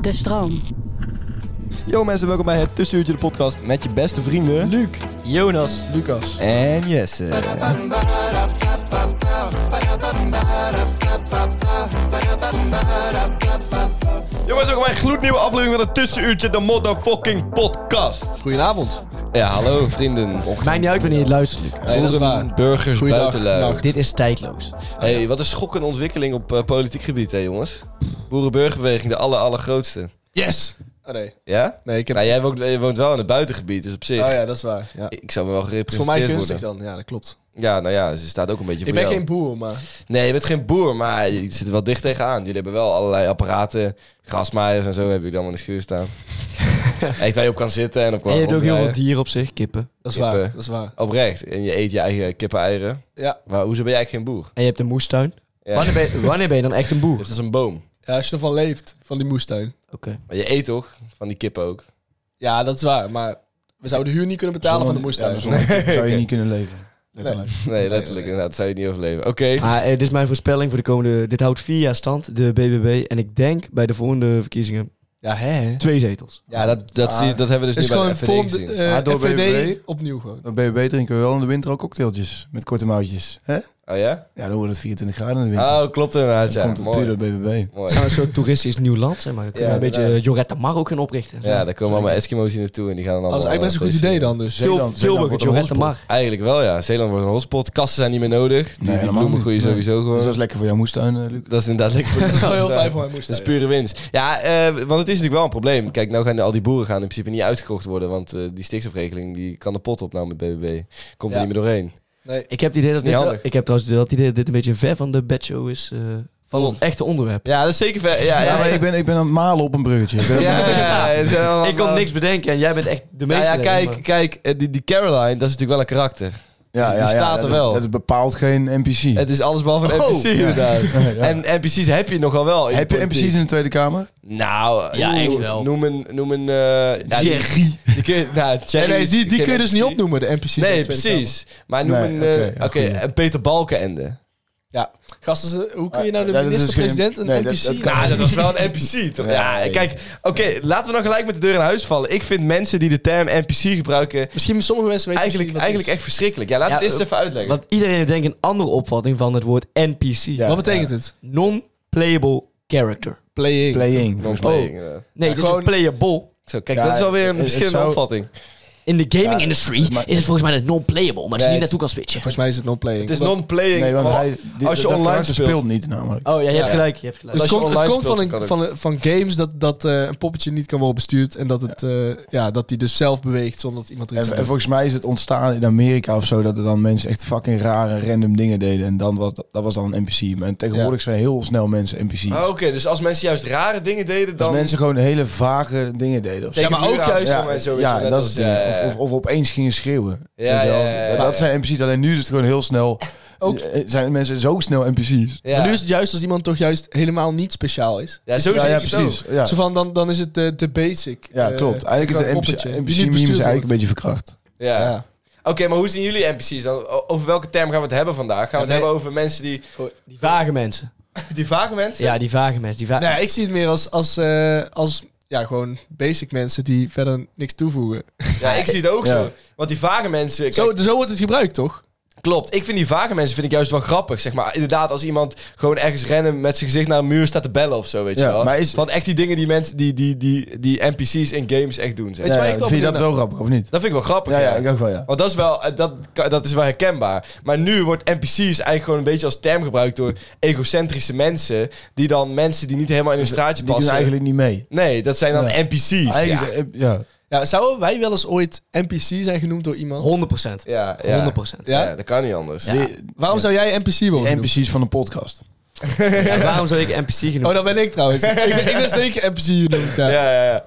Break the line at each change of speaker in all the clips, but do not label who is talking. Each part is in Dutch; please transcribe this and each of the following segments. De stroom.
Yo mensen, welkom bij het Tussenuurtje de podcast met je beste vrienden... Luc, Jonas
Lucas.
en Jesse. Jongens, welkom bij een gloednieuwe aflevering van het Tussenuurtje de motherfucking podcast.
Goedenavond.
Ja, hallo vrienden. Ochtend.
Maakt niet uit wanneer je het luistert, Luc.
Nee, dat is waar. Burgers
Goeiedag, Nou,
buitenluid.
nacht.
Dit is tijdloos.
hey, wat een schokkende ontwikkeling op eh, politiek gebied hè jongens. Boerenburgerbeweging, de aller allergrootste.
Yes! Oh nee.
Ja?
Nee, ik heb...
Maar jij woont, jij woont wel in het buitengebied, dus op zich...
Oh ja, dat is waar. Ja.
Ik zou me wel
is voor mij
gerepresenteerd
gunstig
worden.
dan. Ja, dat klopt.
Ja, nou ja, ze staat ook een beetje voor
ik ben
jou.
geen boer, maar...
Nee, je bent geen boer, maar je zit er wel dicht tegenaan. Jullie hebben wel allerlei apparaten, grasmaaiers en zo heb ik dan in de schuur staan. Echt waar je op kan zitten en op kan
En je hebt ook heel veel
oprijden.
dieren op zich, kippen.
Dat is
Ik heb,
waar,
eh,
dat is waar.
Oprecht. En je eet je eigen kippen-eieren.
Ja.
Maar hoezo ben jij eigenlijk geen boer?
En je hebt een moestuin.
Ja.
Wanneer, ben je, wanneer ben je dan echt een boer?
Dus dat is een boom.
ja, als je ervan leeft, van die moestuin.
Oké.
Maar je eet toch van die kippen ook?
Ja, dat is waar, maar we zouden de huur niet kunnen betalen van de moestuin.
zou je niet kunnen leven.
Letterlijk.
Nee, letterlijk inderdaad. zou je niet overleven. Oké.
Ah, eh, dit is mijn voorspelling voor de komende... Dit houdt vier jaar stand, de BBB. En ik denk bij de volgende verkiezingen
Ja, hè?
twee zetels.
Ja, dat, dat,
Ah.
zie, dat hebben we
Het
dus
is
nu bij de
gewoon
FVD
vorm
gezien.
eh,
Ah, door
FVD
BBB?
opnieuw gewoon.
Dan ben je beter en kun je wel in de winter ook cocktailtjes met korte mouwtjes. Hè?
Oh ja?
Ja, dan wordt het 24 graden in de winter.
Oh, klopt inderdaad.
dat
Ja,
komt het puur door
mooi.
BBB.
Mooi.
Het zou een soort toeristisch nieuw land zijn, maar we kunnen
Ja,
een beetje
inderdaad.
eh, Jorette Mar ook gaan oprichten.
Ja, daar komen allemaal Eskimo's hier naartoe en die gaan dan allemaal...
Dat is eigenlijk best een goed
feesten.
idee dan dus.
Zeeland- Zeeland
Tilburg, het
wordt een
Jorette
hotspot.
Mar.
Eigenlijk wel, ja. Zeeland wordt een hotspot. Kassen zijn niet meer nodig. Die,
Nee,
die
helemaal
bloemen
niet.
groeien
Nee.
sowieso gewoon.
Dus dat is lekker voor jouw moestuin, eh, Luc.
Dat is inderdaad lekker voor de
Dat is wel heel
kans,
fijn
ja.
voor mijn
Dat is
moestuin.
pure winst. Ja, eh, want het is natuurlijk wel een probleem. Kijk, nou gaan al die boeren gaan in principe niet uitgekocht worden. Want eh, die stikstofregeling die kan de pot op nou met BBB. Komt
Ja.
er niet meer doorheen.
Nee.
Ik heb het idee dat
niet
dit, wel-
handig.
ik heb trouwens wel het idee dat dit een beetje ver van de bedshow is. eh, van
Klopt.
het echte onderwerp.
Ja, dat is zeker ver. Ja, ja,
Ja, maar ik ben, ik ben aan het malen op een bruggetje. Ik ben-
ja, ja, ja, ja.
Ik kan niks bedenken en jij bent echt de
Nou
meeste.
ja,
erin, maar-
kijk, kijk eh, die, die Caroline, dat is natuurlijk wel een karakter.
ja,
Die staat er
dat is-
wel.
dat is bepaald geen NPC.
Het is alles behalve een
Oh!
NPC inderdaad.
Ja.
En NPC's heb je nogal wel. in de
Heb je
politiek.
NPC's in de Tweede Kamer?
Nou,
Ja,
oeh,
echt wel.
Noem een... Noem een eh, ja, die-
Jerry.
Die kun je, nou,
Nee,
Jerry
nee,
is-
die, die
ken
kun je dus niet
NPC.
opnoemen, de NPC's. in de
Nee,
Tweede Kamer.
precies. Maar noem
Nee,
een,
oké,
eh,
ja,
oké,
goeie.
een Peter Balkenende.
Ja, gasten, hoe kun je nou de
Ja, dat is dus
minister-president een
geen- nee, dat-
NPC
dat kan
Nou,
noemen?
dat was wel een NPC. Toch? Ja, kijk, oké, laten we dan gelijk met de deur in huis vallen. Ik vind mensen die de term NPC gebruiken
Misschien sommige mensen weten
eigenlijk,
misschien wat het
eigenlijk echt verschrikkelijk. Ja, laat
Ja,
het eerst
eh,
even uitleggen.
Want iedereen heeft denk ik een andere opvatting van het woord NPC.
is. Wat betekent het?
Non-playable character. Oh.
Playing.
Playing, volgens mij.
Non-playing, eh.
Nee,
Ja,
het is
gewoon-
een playable.
Zo, kijk,
Ja,
dat is alweer een
het- het
verschillende
zou-
opvatting.
In de gaming
Ja,
industry
maar-
is het volgens mij een non-playable, maar dat
Nee,
je
het-
niet naartoe kan switchen.
Volgens mij is het non-playing.
Het is
Omdat-
non-playing.
Nee, want
Oh,
hij, die-
als je
dat
online
karakter
speelt. Ah,
speelt niet namelijk.
Oh ja, je hebt
ja.
gelijk. Je hebt gelijk.
Dus het
als je
komt,
online
het komt van,
speelt,
een,
kan
van, van games dat, dat eh, een poppetje niet kan worden bestuurd. En dat, het, eh, ja, dat die dus zelf beweegt zonder dat iemand er iets
En,
aan
en
doet.
volgens mij is het ontstaan in Amerika of zo dat er dan mensen echt fucking rare random dingen deden en dan was dat was dan een NPC. Maar tegenwoordig zijn heel snel mensen NPC's.
Ah, Oké, dus als mensen juist rare dingen deden,
Dat
dan...
mensen gewoon hele vage dingen deden. Of zo.
tegen
Ja, maar ook
muren
juist-
aanstonden en zo, weet je
ja,
wel,
dat
net
is
als,
het ding.
eh,
Of, of, of opeens gingen schreeuwen.
Ja,
Weet je wel?
ja, ja, ja.
dat, dat zijn NPC's. Alleen nu is het gewoon heel snel.
Ook-
eh, Zijn mensen zo snel NPC's.
ja.
Maar nu is het juist als iemand toch juist helemaal niet speciaal is.
Ja, zo
ja,
zie
ja,
ik het
precies.
ook.
Ja,
Zo van, dan, dan is het de, de basic.
ja
eh,
klopt. Eigenlijk is
gewoon
de
een
NPC,
poppetje die
NPC
niet
meme is
bestuurd
eigenlijk een
wordt.
beetje verkracht.
Ja.
Ja.
Oké, maar hoe zien jullie NPC's dan? O- Over welke term gaan we het hebben vandaag? Gaan we het
Ja, nee.
hebben over mensen die...
Die vage mensen.
Die vage mensen?
Ja, die vage mensen. Die va-
Nee, ik zie het meer als, als, eh, als ja, gewoon basic mensen die verder niks toevoegen.
Ja, ik zie het ook
Ja.
zo. Want die vage mensen... Kijk,
Zo, zo wordt het gebruikt, toch?
Klopt. Ik vind die vage mensen vind ik juist wel grappig, zeg maar. Inderdaad, als iemand gewoon ergens rennen met zijn gezicht naar een muur staat te bellen of zo, weet
Ja,
je wel.
maar is-
Want echt die dingen die mensen, die, die, die, die NPC's in games echt doen, zeg.
Weet je waar ik op
vind je dat
ben?
wel grappig, of niet?
Dat vind ik wel grappig,
Ja, ja, ik ook wel, ja.
Want dat is wel, eh, dat, ka- dat is wel herkenbaar. Maar nu wordt NPC's eigenlijk gewoon een beetje als term gebruikt door egocentrische mensen, die dan mensen die niet helemaal in hun straatje
Die doen
passen.
eigenlijk niet mee.
Nee, dat zijn dan
Nee.
NPC's. Ja.
Eigenlijk is- ja.
Ja, zouden wij wel eens ooit NPC zijn genoemd door iemand?
100%.
Ja, ja.
100%.
Ja?
Ja?
dat kan niet anders.
Die,
Waarom zou jij NPC worden
die
genoemd?
NPC's van de podcast.
Ja, waarom zou ik NPC genoemd?
Oh, dat ben ik trouwens. ik, ben, ik ben zeker NPC genoemd, ja.
Ja, ja, ja.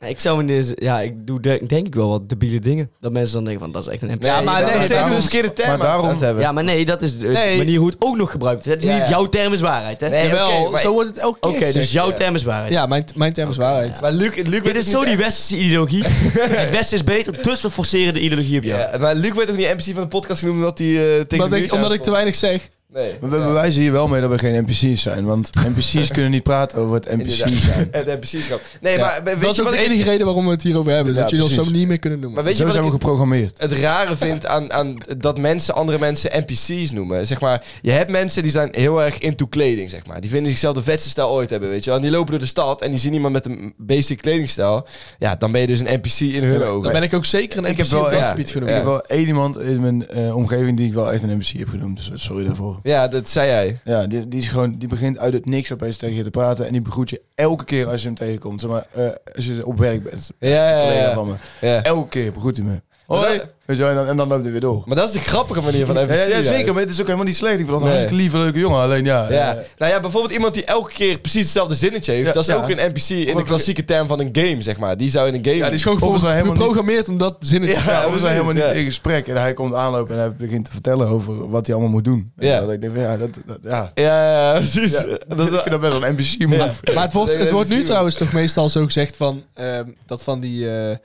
Nee, ik zou in deze, ja, ik doe de- denk ik wel wat debiele dingen. Dat mensen dan denken van, dat is echt een NPC.
ja, maar
nee,
nee,
maar
steeds
daarom-
een verkeerde term
maar daarom-
aan het hebben.
Ja, maar nee, dat is de
Nee.
manier hoe het ook nog gebruikt wordt. Het is
Ja,
niet
ja.
jouw term is waarheid, hè?
Nee,
Oké,
Jawel,
oké, maar-
zo wordt het elke keer
dus
gezegd.
jouw
ja.
term is waarheid.
Ja, mijn, mijn term is waarheid.
Maar Luc, Luc
Dit is zo die westerse ideologie. het westen is beter, dus we forceren de ideologie op jou.
Ja, maar Luc werd ook niet MC van de podcast genoemd omdat hij eh, tegen
Omdat,
de
ik,
muurtje
omdat ik te
aanstond.
weinig zeg.
Nee.
Maar we bewijzen hier wel mee dat we geen NPC's zijn. Want NPC's kunnen niet praten over het NPC's zijn.
En de NPC's-schap. Nee,
Ja.
maar weet
dat is
je
ook
wat
de
ik...
enige reden waarom we het hierover hebben.
Ja,
dat jullie ons
precies.
zo niet meer kunnen noemen.
Maar weet je
Zo
wat
zijn
ik-
we geprogrammeerd.
het rare vind aan, aan dat mensen andere mensen NPC's noemen. Zeg maar, je hebt mensen die zijn heel erg into kleding, zeg maar. Die vinden zichzelf de vetste stijl ooit hebben, weet je wel. En die lopen door de stad en die zien iemand met een basic kledingstijl. Ja, dan ben je dus een NPC in hun
dan
ogen.
ben ik ook zeker een
Ik
NPC
heb wel-
op dat
Oh, ja.
gebied genoemd.
Ik
Ja.
heb wel één iemand in mijn eh, omgeving die ik wel echt een NPC heb genoemd. Dus sorry daarvoor.
Ja, dat zei jij.
Ja, die, die, is gewoon, die begint uit het niks opeens tegen je te praten. En die begroet je elke keer als je hem tegenkomt. Zeg maar, eh, als je op werk bent.
Ja, ja, ja,
Collega
ja.
van me.
Ja.
Elke keer begroet hij me. Hoi.
dat-
Weet je wel, en, dan, en dan loopt hij weer door.
Maar dat is de grappige manier van NPC.
Ja, ja,
juist.
zeker. Maar het is ook helemaal niet slecht. Ik vind dat een
Nee.
hartstikke lieve, leuke jongen. Alleen ja.
Ja.
eh,
nou ja, bijvoorbeeld iemand die elke keer precies hetzelfde zinnetje heeft.
Ja,
dat is
ja.
ook een NPC in de
Omdat-
klassieke term van een game, zeg maar. Die zou in een game...
Ja, die is gewoon
Of we zijn helemaal niet-
geprogrammeerd om dat zinnetje
Ja,
te houden.
Ja, we zijn
precies,
helemaal niet
ja.
in gesprek. En hij komt aanlopen en hij begint te vertellen over wat hij allemaal moet doen. En
Ja.
Dat ik denk, van, ja, dat, dat- ja.
Ja, ja, ja, precies.
Ja,
dat is
ik
wel-
vind dat best wel een NPC move.
Maar het wordt,
Nee,
het
we
wordt nu
zien we.
trouwens toch meestal zo gezegd van... ehm, dat van die eh,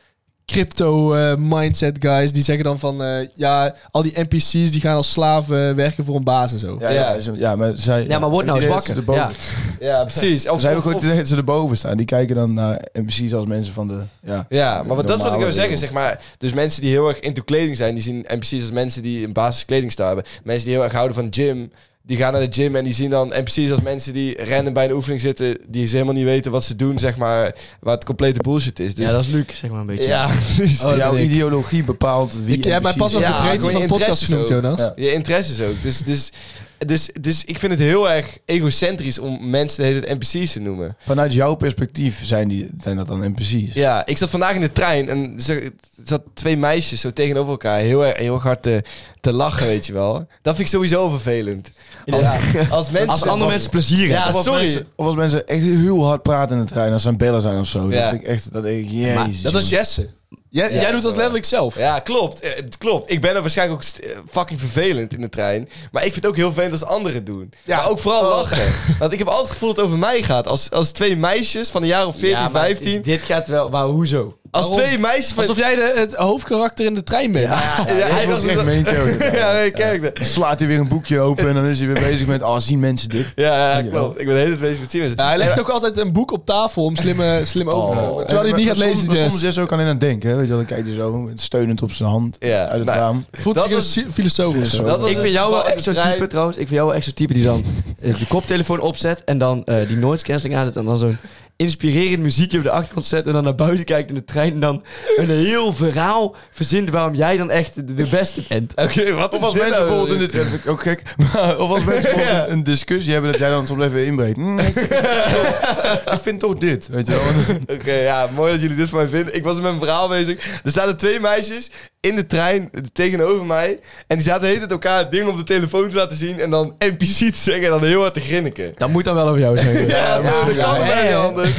crypto eh, mindset guys... die zeggen dan van... eh, ja, al die NPC's die gaan als slaven werken voor een baas en zo.
Ja, ja, ze- ja, maar zij...
Ja, maar word nou
het
eens
idee dat ze
wakker.
erboven-
Ja.
Ja, precies. Of,
Zij
of-
hebben Dus gewoon
of-
het idee dat ze erboven staan. Die kijken dan naar NPC's als mensen van de... Ja,
ja, maar wat, dat is wat ik wil
Normale
zeggen.
wereld.
Zeg maar, dus mensen die heel erg into kleding zijn, die zien NPC's als mensen die een basis kledingstijl hebben. Mensen die heel erg houden van gym, die gaan naar de gym en die zien dan NPC's als mensen die random bij een oefening zitten, die ze helemaal niet weten wat ze doen, zeg maar, waar het complete bullshit is. Dus,
Ja, dat is Luc, zeg maar een beetje.
Ja, precies.
Oh, dat
Jouw
ben ik.
ideologie bepaalt wie
Ik, jij hebt mij
NPC's
pas op
zijn.
Ja,
de breedte
gewoon
van
je
de podcast
interesses
genoemd,
ook.
Jonas.
Ja.
Je interesses ook. Dus, dus, dus, dus ik vind het heel erg egocentrisch om mensen de hele tijd NPC's te noemen.
Vanuit jouw perspectief zijn, die, zijn dat dan NPC's.
Ja, ik zat vandaag in de trein en er zat twee meisjes zo tegenover elkaar heel erg, heel erg hard te, te lachen, weet je wel. Dat vind ik sowieso vervelend. Als, als mensen...
Als andere mensen plezier
Ja,
hebben.
Of als
sorry.
mensen- of als mensen echt heel hard praten in de trein, als ze aan het bellen zijn of zo.
Ja.
Dat vind ik echt, dat ik, jezus.
Dat
jongen.
was Jesse. Jij,
Ja,
jij doet
dat
dat
wel.
letterlijk zelf.
Ja, klopt. Eh, het Klopt. Ik ben er waarschijnlijk ook st- eh, fucking vervelend in de trein. Maar ik vind het ook heel vervelend als anderen het doen.
Ja.
Maar ook vooral
Oh.
lachen. Want ik heb altijd het gevoel dat het over mij gaat. Als, als twee meisjes van een jaar of 14,
Ja, maar
15...
Dit gaat wel, maar hoezo?
Als
waarom?
twee meisjes van...
Alsof jij de, het hoofdkarakter in de trein bent.
ja, ja,
Hij
hij
was
was
echt
het-
main character.
Ja, nee, kijk dat.
Dan slaat hij weer een boekje open en dan is hij weer bezig met, ah, zien mensen dit?
Ja, ja, klopt. Ik ben de hele tijd bezig met zien mensen.
Ja, hij legt ook altijd een boek op tafel om slimme, slim
Oh.
over te komen. Terwijl hij het niet
Maar
gaat
soms-
lezen.
maar
Dus.
Soms is hij ook alleen aan het denken, hè. weet je wel, dan kijkt hij zo steunend op zijn hand
Ja,
uit het
nou,
raam.
Voelt
Dat
zich
was-
een filosoof of zo.
Dat was
Ik
dus
vind jou wel
toevallig
echt
de
zo'n
trein.
type trouwens. Ik vind jou wel echt zo'n type die dan eh, de koptelefoon opzet en dan eh, die noise cancelling aanzet en dan zo'n inspirerend muziekje op de achtergrond zet en dan naar buiten kijkt in de trein en dan een heel verhaal verzint waarom jij dan echt de, de beste bent.
Oké, wat
Of als
is dit
mensen
nou?
bijvoorbeeld in de dat vind ik ook gek. Maar, of als mensen bijvoorbeeld een discussie hebben dat jij dan soms even inbreekt. Hm, ik, vind toch- ik vind toch dit, weet je wel.
Oké, ja, mooi dat jullie dit van mij vinden. Ik was met mijn verhaal bezig. Er zaten twee meisjes in de trein tegenover mij. En die zaten de hele tijd elkaar dingen op de telefoon te laten zien. En dan NPC te zeggen en dan heel hard te grinniken.
Dat moet dan wel over jou zijn.
Ja, dat kan
ja,
bijna
ja.
niet anders.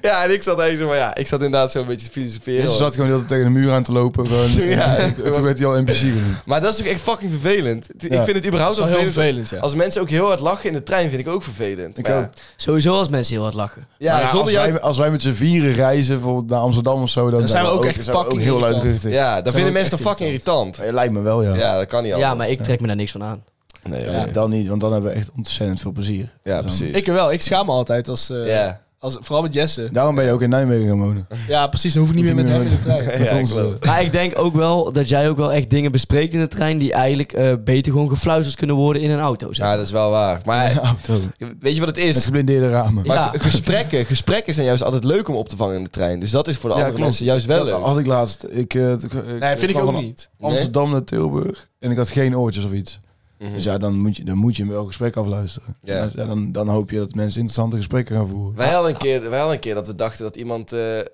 Ja, en ik zat eigenlijk zo van, ja, ik zat inderdaad zo een beetje te filosoferen.
Dus ze zat gewoon de hele tijd tegen de muur aan te lopen. Gewoon,
Ja.
En toen werd hij al NPC genoemd.
Maar dat is toch echt fucking vervelend. T-
Ja.
Ik vind het überhaupt
Dat
wel
is wel
vervelend.
heel vervelend, ja.
Als mensen ook heel hard lachen in de trein vind ik ook vervelend.
Ik
Maar ja.
ook.
Sowieso als mensen heel hard lachen.
Ja,
Maar ja,
zonder
als,
jou...
wij, als wij met z'n vieren reizen bijvoorbeeld naar Amsterdam of zo... Dan,
zijn we ook echt
zijn we
fucking
heel
irritant.
luidruchtig.
Ja, dat vinden
ook
mensen
echt
toch fucking irritant.
Ja, Lijkt me wel, ja.
Ja, dat kan niet anders.
Ja, maar ik trek me daar niks van aan.
Nee,
Ja,
oké.
Dan niet, want dan hebben we echt ontzettend veel plezier.
Ja,
Dus dan-
precies.
Ik wel. Ik schaam me altijd als, eh,
Ja.
Als, vooral met Jesse.
Daarom ben je ook in Nijmegen gaan wonen.
Ja, precies. Dan hoef ik niet
Hoef
meer met
je
hem in
niet
de trein.
Met
Ja,
ons,
ik geloof
eh,
het.
Maar ik denk ook wel dat jij ook wel echt dingen bespreekt in de trein die eigenlijk eh, beter gewoon gefluisterd kunnen worden in een auto. Zeg.
Ja, dat is wel waar.
Een
Maar
auto.
weet je wat het
Met
is?
geblindeerde ramen.
Ja.
Maar g- gesprekken, gesprekken zijn juist altijd leuk om op te vangen in de trein. Dus dat is voor de
Ja, oh.
andere
klopt.
mensen juist wel
Dat
leuk.
had ik laatst. Ik, eh, t- ik-
Nee, vind ik
kwam
ook
van
niet.
Amsterdam naar Tilburg. En ik had geen oortjes of iets.
Mhm.
Dus ja, dan moet je, dan moet je wel gesprek afluisteren.
Ja.
Ja. dan, dan hoop je dat mensen interessante gesprekken gaan voeren.
Wij hadden, een keer, wij hadden een keer dat we dachten dat iemand eh, eh,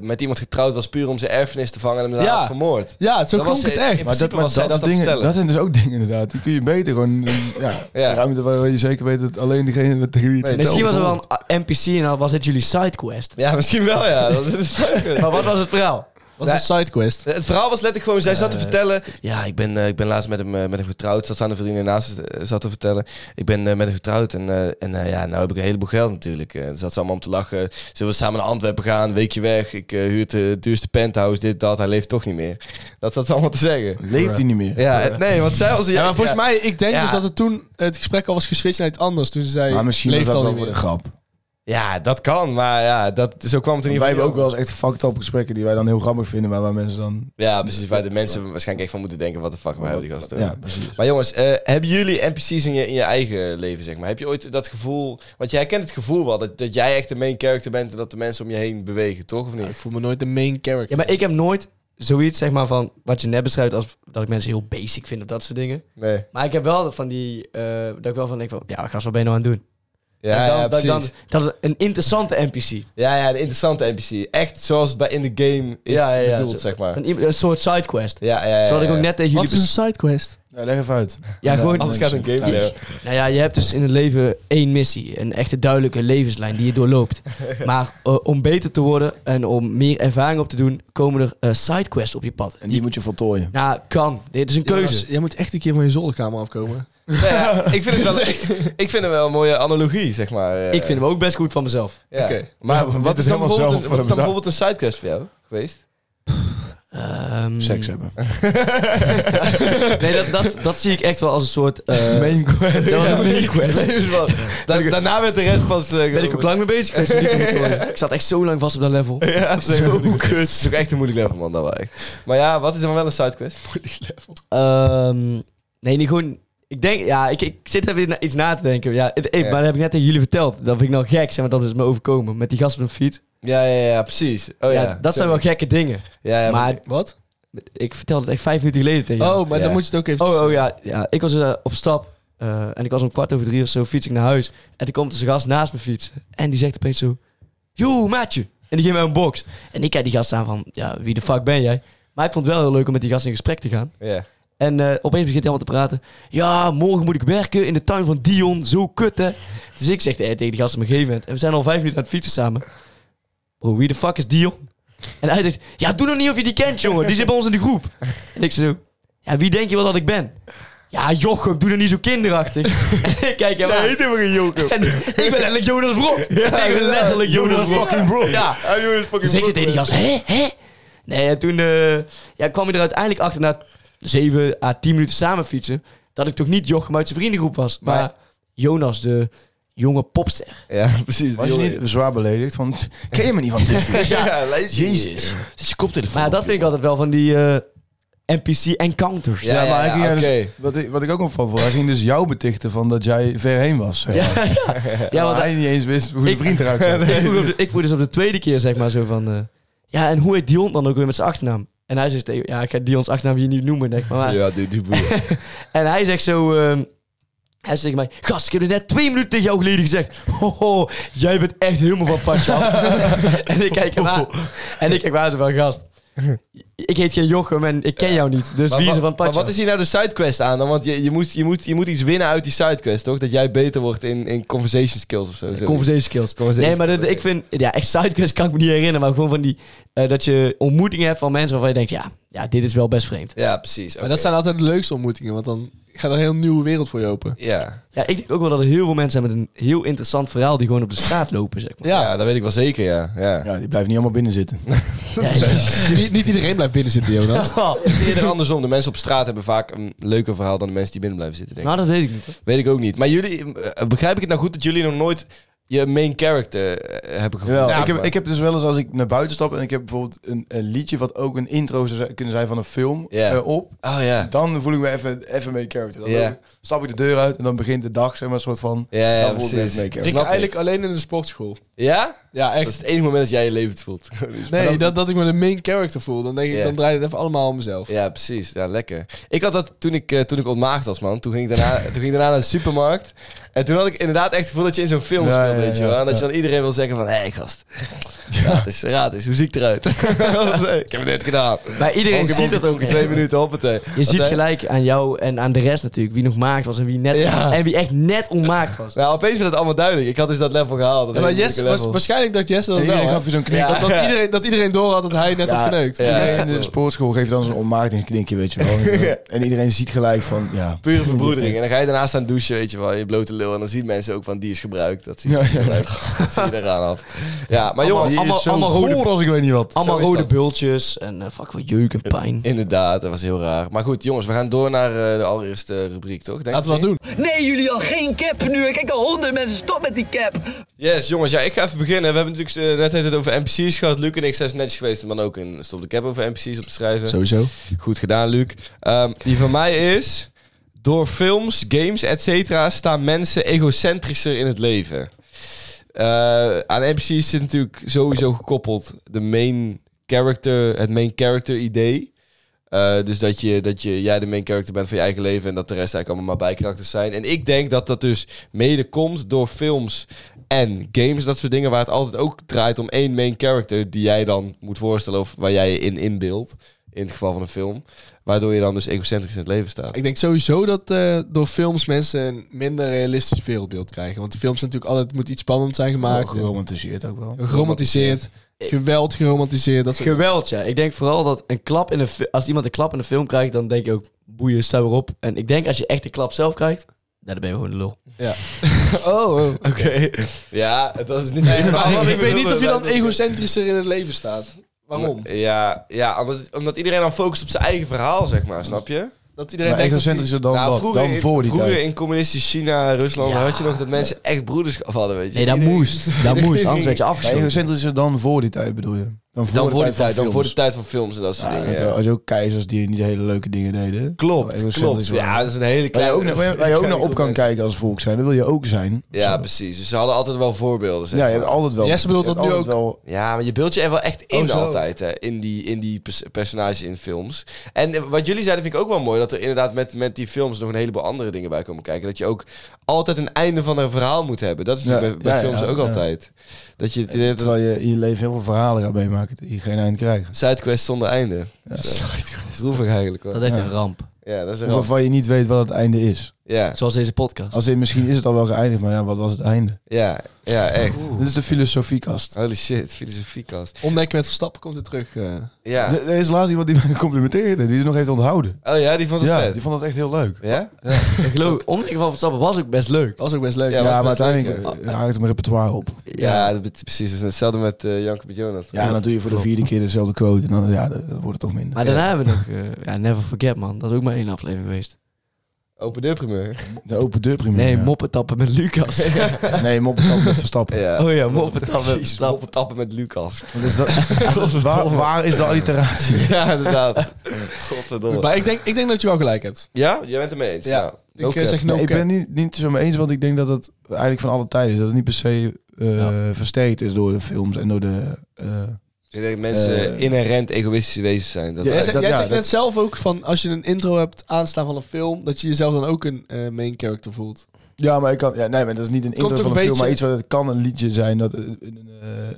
met iemand getrouwd was puur om zijn erfenis te vangen en hem daarna
Ja.
had vermoord.
Ja, zo
Dat
klonk
was
het
in-
echt.
in
Maar dat,
principe
maar
was zij
dat, dat,
dat te
dingen,
vertellen.
dat zijn dus ook dingen inderdaad. Die kun je beter gewoon... eh, Ja,
Ja.
Ruimte waar je zeker weet dat alleen degene dat tegen wie je het vertelt
Misschien was er wel
hoort.
een ah, NPC en dan was dit jullie sidequest.
Ja, misschien wel ja. Dat is-
Maar wat was het verhaal?
Wat is een sidequest?
Eh, Het verhaal was letterlijk gewoon, zij zat
Eh.
te vertellen... Ja, ik ben, eh, ik ben laatst met hem, eh, met hem getrouwd. Zat ze aan de vriendin naast eh, zat te vertellen. Ik ben eh, met hem getrouwd en, eh, en eh, ja, nou heb ik een heleboel geld natuurlijk. Eh, zat ze allemaal om te lachen. Zullen we samen naar Antwerpen gaan? Een weekje weg. Ik eh, huur het eh, duurste penthouse, dit, dat. Hij leeft toch niet meer. Dat zat ze allemaal te zeggen.
Leeft hij niet meer.
Ja, eh, nee, want zij was...
Ja, maar volgens mij, ik denk
Ja.
dus dat het toen het gesprek al was geswitcht naar iets anders. Toen ze zei,
Maar misschien was
leeft
dat
al
wel
niet
voor de
meer.
grap.
Ja, dat kan, maar ja, dat, zo kwam het in ieder
Wij
geval
hebben ook
niet
wel eens echt fucked up gesprekken die wij dan heel grappig vinden, maar waar mensen dan...
op. Ja, precies, waar de mensen waarschijnlijk echt van moeten denken... wat de fuck, waar hebben die gasten het
Ja,
over?
precies.
Maar jongens, eh, hebben jullie NPC's in je, in je eigen leven, zeg maar? Heb je ooit dat gevoel... Want jij kent het gevoel wel, dat, dat jij echt de main character bent... en dat de mensen om je heen bewegen, toch? Of
Ja,
niet?
ik voel me nooit de main character.
Ja, maar ik heb nooit zoiets zeg maar van wat je net beschrijft als dat ik mensen heel basic vind of dat soort dingen.
Nee.
Maar ik heb wel van die, eh, dat ik wel van denk van, ja gast, wat ben je nou aan het doen?
Ja,
En dan-
ja,
dat, ik
precies.
dan, dat is een interessante NPC.
Ja, ja, de interessante NPC. Echt zoals het bij in the game is
Ja, ja, ja.
bedoeld,
Zo-
zeg maar.
Van iemand- een soort sidequest.
Ja, ja, ja, ja.
Zo had ik ook net tegen
Wat
jullie...
is een sidequest?
Ja, leg even uit.
bes- Ja, gewoon...
Anders gaat een game
Thuis.
weer.
Nou ja, je hebt dus in het leven één missie. Een echte duidelijke levenslijn die je doorloopt. Maar eh, om beter te worden en om meer ervaring op te doen, komen er eh, sidequests op je pad.
En die moet je voltooien.
Nou, kan. Dit is een keuze.
Jij moet echt een keer van je zolderkamer afkomen.
Ja, ja, ik, vind het wel, ik vind het wel een mooie analogie, zeg maar. eh.
Ik vind hem ook best goed van mezelf.
Ja.
Oké.
Maar
Ja,
wat
dit
is dan
is helemaal
bijvoorbeeld, een-
zelf
wat is dan
bedacht.
bijvoorbeeld een sidequest voor jou geweest?
Ehm,
Seks hebben.
Nee, dat, dat, dat zie ik echt wel als een soort... eh
Main quest.
dat was een main quest.
Levensbad. Da- daarna werd de rest pas... eh,
Ben ik ook lang mee bezig geweest. om die te voltooien. Ik zat echt zo lang vast op dat level.
Ja, zo kut. Het is toch echt een moeilijk level, man. Dat wel echt. Maar ja, wat is dan wel een sidequest?
Ehm, nee, niet gewoon. Ik denk, ja, ik, ik zit even na- iets na te denken. Ja, het, eh,
Ja.
Maar dat heb ik net tegen jullie verteld. Dat vind ik nou gek, zeg maar, dat is me overkomen. Met die gast op een fiets.
Ja, ja, ja, precies. Oh,
ja,
ja,
dat zijn wel gekke dingen.
Ja, ja,
maar
Wat?
ik vertelde het echt vijf minuten geleden tegen jou.
Oh, maar
Ja.
dan moet je het ook even...
Oh, oh ja, ja. Ik was eh, op stap eh, en ik was om kwart over drie of zo fiets ik naar huis. En toen komt dus een gast naast me fietsen. En die zegt opeens zo, yo, maatje. En die geeft mij een box. En ik kijk die gast aan van, ja, wie de fuck ben jij? Maar ik vond het wel heel leuk om met die gast in gesprek te gaan.
ja.
En eh, opeens begint hij allemaal te praten. Ja, morgen moet ik werken in de tuin van Dion. Zo kut, hè? Dus ik zeg eh, tegen die gast op een gegeven moment. En we zijn al vijf minuten aan het fietsen samen. Bro, wie de fuck is Dion? En hij zegt, ja, doe nog niet of je die kent, jongen. Die zit bij ons in de groep. En ik zeg zo, ja, wie denk je wel dat ik ben? Ja, Jochem, doe er niet zo kinderachtig. en ik kijk hem aan.
heet helemaal geen Joker.
En ik ben letterlijk Jonas Brok. ik ben letterlijk Jonas Brok.
fucking bro.
Ja. Dus ik zit tegen die gast, hè, hè? Nee, en toen eh, ja, kwam je er uiteindelijk achter na 7 à 10 minuten samen fietsen... dat ik toch niet Jochem uit zijn vriendengroep was, maar,
Maar-
Jonas, de jonge popster.
Ja, precies.
Was je niet zwaar beledigd? Van, ken je me niet van dit?
Ja, lijst.
Jezus. Zet je koptelefoon
Maar ja, dat vind ik altijd wel van die eh, NPC-encounters.
Ja,
Ja, maar hij
ja,
ging
ja,
dus-
oké.
wat, ik, wat ik ook opvang voor, hij ging dus jou betichten van dat jij ver heen was. Zeg
ja,
maar.
ja. ja want
want hij niet eens wist hoe je
Ik-
vriend eruit zag.
ik, vroeg op de- ik vroeg dus op de tweede keer, zeg maar, zo van... eh, ja, en hoe heet Dion dan ook weer met zijn achternaam? En hij zegt, tegen- ja, ik ga Dion's achternaam hier niet noemen, denk ik, maar...
Ja, die, die boer.
En hij zegt zo... ehm, hij zegt tegen mij... Gast, ik heb het net twee minuten tegen jou geleden gezegd. Ho, ho, jij bent echt helemaal van patje af. en ik kijk hem aan. En ik kijk hem aan zo van... Gast, ik heet geen Jochem en ik ken jou niet. Dus
Maar
wie is
wa-
er van
maar
patje
wat is hier nou de sidequest aan dan? Want je, je, moet, je, moet, je moet iets winnen uit die sidequest, toch? Dat jij beter wordt in, in conversation skills of zo.
af? Conversation skills.
Conversation
nee, maar dat-
skills,
ik vind... Ja, echt sidequests kan ik me niet herinneren. Maar gewoon van die... eh, dat je ontmoetingen hebt van mensen waarvan je denkt... Ja, ja dit is wel best vreemd.
Ja, precies.
Maar dat zijn altijd de leukste ontmoetingen, want dan gaat er een heel nieuwe wereld voor je open.
Ja.
Ja, ik denk ook wel dat er heel veel mensen zijn met een heel interessant verhaal... die gewoon op de straat lopen, zeg maar.
Ja.
Ja,
dat weet ik wel zeker, ja. ja.
Ja, die blijft niet allemaal binnen zitten.
Niet, niet iedereen blijft binnen zitten, Jonas.
Het is eerder andersom. De mensen op straat hebben vaak een leuker verhaal dan de mensen die binnen blijven zitten, denk ik.
Nou, dat weet ik niet.
Weet ik ook niet. Maar jullie, eh, begrijp ik het nou goed dat jullie nog nooit je main character eh, hebben gevoeld.
Jawel,
zeg
ik, heb,
maar.
ik heb dus wel eens als ik naar buiten stap en ik heb bijvoorbeeld een, een liedje wat ook een intro zou zijn- kunnen zijn van een film
Ja.
eh, op.
Oh ja.
Dan voel ik me even, even main character. Dan
Ja.
stap ik de deur uit en dan begint de dag, zeg maar, een soort van...
Ja, ja,
dan voel ik me
precies.
even main character.
Ik
snap ik.
eigenlijk alleen in de sportschool.
Ja?
Ja,
Dat
echt.
is het enige moment dat jij je leven voelt.
Nee,
Maar dan-
dat, dat ik me de main character voel. Dan, denk ik,
Ja.
dan draait het even allemaal om mezelf.
Ja, precies. Ja, lekker. Ik had dat toen ik, eh, toen ik ontmaagd was, man. Toen ging, ik daarna, toen ging ik daarna naar de supermarkt. En toen had ik inderdaad echt het gevoel dat je in zo'n film
Ja,
speelt,
ja,
weet je
ja,
wel. En dat
ja.
je dan iedereen wil zeggen van... Hé, hey, gast. Raad eens, raad eens. Hoe zie ik eruit? ik heb het net gedaan.
Maar iedereen ziet dat ook.
in twee minuten, hoppatee. eh,
Je ziet
hè?
gelijk aan jou en aan de rest natuurlijk wie nog maakt was en wie net
Ja.
en wie echt net onmaakt was.
Nou, opeens werd het allemaal duidelijk. Ik had dus dat level gehaald. Dat
Ja, maar
hele
Jesse,
moeilijke
was,
level.
waarschijnlijk dacht Jesse dat
En
wel.
iedereen
hè?
gaf je zo'n knik.
dat, dat, iedereen, dat iedereen door had dat hij net had
Ja.
geneukt.
Ja.
Iedereen in de sportschool geeft dan zo'n onmaakting knikje, weet je wel. en iedereen ziet gelijk van, ja...
Pure verbroedering. En dan ga je daarna staan douchen, weet je wel, in je blote lul. En dan zien mensen ook van, die is gebruikt. Dat zie je,
Ja, ja.
gebruikt. Dat zie je eraan af. Ja, maar jongens,
allemaal-
hier is zo
allemaal
goor
rode-
als ik weet niet wat.
Allemaal
Zo is
rode
dat.
bultjes en eh, fuck wat jeuk en pijn.
Mhm.
Inderdaad, dat was heel raar. Maar goed, jongens, we gaan door naar eh, de allereerste rubriek, toch? Denk
Laten we
ik?
dat doen.
Nee, jullie al geen cap nu. Kijk al honderd mensen, stop met die cap.
Yes, jongens, ja, ik ga even beginnen. We hebben natuurlijk eh, net het over NPC's gehad. Luc en ik zijn netjes geweest, maar ook een stop de cap over NPC's op te schrijven.
Sowieso.
Goed gedaan, Luc. Ehm, die van mij is... Door films, games, et cetera... staan mensen egocentrischer in het leven. Eh, aan NPC's zit natuurlijk sowieso gekoppeld... de main character, het main character idee. Eh, dus dat, je, dat je, jij de main character bent van je eigen leven... en dat de rest eigenlijk allemaal maar bijkarakters zijn. En ik denk dat dat dus mede komt door films en games. Dat soort dingen waar het altijd ook draait om één main character... die jij dan moet voorstellen of waar jij je in inbeeldt in het geval van een film. Waardoor je dan dus egocentrisch in het leven staat.
Ik denk sowieso dat eh, door films mensen een minder realistisch wereldbeeld krijgen. Want films zijn natuurlijk altijd, het moet iets spannend zijn gemaakt.
Geromantiseerd ook wel.
Geromantiseerd. Geweld geromantiseerd. Dat soort-
Geweld, ja. Ik denk vooral dat een klap in een fi- als iemand een klap in een film krijgt, dan denk je ook boeien, sta weer op. En ik denk als je echt een klap zelf krijgt, dan ben je gewoon een lul.
oh, oh.
Oké. Ja, dat is niet
Maar
helemaal.
ik, weet niet of je dan egocentrischer in het leven staat. Waarom?
Ja, ja omdat, omdat iedereen dan focust op zijn eigen verhaal, zeg maar, snap je?
Dat iedereen
Maar
denkt dat hij-
egocentrischer dan wat? dan
in,
voor die
Nou, vroeger
tijd.
in communistisch China, Rusland,
Ja.
had je nog dat mensen echt broederschap hadden, weet je.
Nee, dat
Iedereen-
moest. Dat moest, anders werd je
Maar
afgeschoten.
egocentrischer dan voor die tijd, bedoel je? Dan voor,
Dan voor die tijd,
van
dan voor de
films. Nou,
tijd van films en dat soort
Ja,
dingen.
dan
ja.
had je ook keizers die niet hele leuke dingen deden. Oh, Maar
Klopt, klopt.
egocentrisch waren.
Ja, dat is een hele
Waar je
kleine...
ook, naar- waar je- waar je ook naar op kan
mensen.
kijken als volk zijn, dat wil je ook zijn.
Ja,
Zo.
precies. Dus ze hadden altijd wel voorbeelden, zeg
ja, je hebt
maar.
altijd wel.
Jesse bedoelt
je
dat
hebt
nu
altijd Wel,
Ja, maar je beeld je er wel echt in
Oh, zo.
altijd, hè? In die, in die pers- personages in films. En eh, wat jullie zeiden vind ik ook wel mooi, dat er inderdaad met, met die films nog een heleboel andere dingen bij komen kijken. Dat je ook altijd een einde van een verhaal moet hebben. Dat is
Ja,
natuurlijk bij, bij
ja,
films
ja,
ook
ja.
altijd. Dat je
eh, terwijl je in je leven heel veel verhalen gaat meemaken die je geen eind krijgt.
sidequest zonder einde. Sidequest. Droevig eigenlijk, hoor.
Dat is echt
Ja.
een ramp.
Ja, dat is een ramp.
Of waarvan je niet weet wat het einde is.
Ja,
Zoals deze podcast.
Als in, misschien is het al wel geëindigd, maar ja, wat was het einde?
ja, ja, echt.
Dit is de filosofiekast.
Holy shit, filosofiekast.
Ontdekken met Verstappen komt er terug. eh.
Ja.
Er er is laatst iemand die mij complimenteerde, die het nog heeft onthouden.
Oh ja, die vond het
ja,
vet.
die vond dat echt heel leuk.
Ja?
Ik geloof, omdenken van Verstappen was ook best leuk.
was ook best leuk.
Ja,
Ja,
was
maar
best
uiteindelijk eh, haakt het mijn repertoire op.
Ja, dat bet- precies. Dat is hetzelfde met eh Janke met Jonas.
Ja, en dan doe je voor de vierde keer dezelfde quote en dan ja, dat, dat wordt het toch minder.
Maar daarna hebben we nog, eh, ja, Never Forget man, dat is ook maar één aflevering geweest.
Open deur primeur.
De open deur primeur.
Nee,
ja.
moppen tappen met Lucas.
Nee, mop kan met verstappen.
Ja.
Oh ja, moppen tappen.
Jezus,
tappen.
moppen tappen met Lucas.
Want is dat, waar, waar is de alliteratie?
Ja, inderdaad.
Goed,
Godverdomme.
Maar ik denk, ik denk dat je wel gelijk hebt.
Ja, jij bent het mee eens.
Ja.
Ja.
Ik
Oké.
eh, zeg no
Nee, ik
cap.
ben niet, niet zo mee eens, want ik denk dat het eigenlijk van alle tijden is. Dat het niet per se eh, versterkt is door de films en door de... eh,
Ik denk dat mensen
Eh,
inherent egoïstische wezens zijn. Dat
Ja,
Jij,
wij-
zegt-
dat-
jij
ja,
zegt
dat-
net zelf ook van als je een intro hebt aanstaan van een film, dat je jezelf dan ook een eh, main character voelt.
ja, maar ik kan... Ja, nee, maar dat is niet een intro
ook
van
een
een film, maar
beetje-
iets wat het kan een liedje zijn dat eh, in een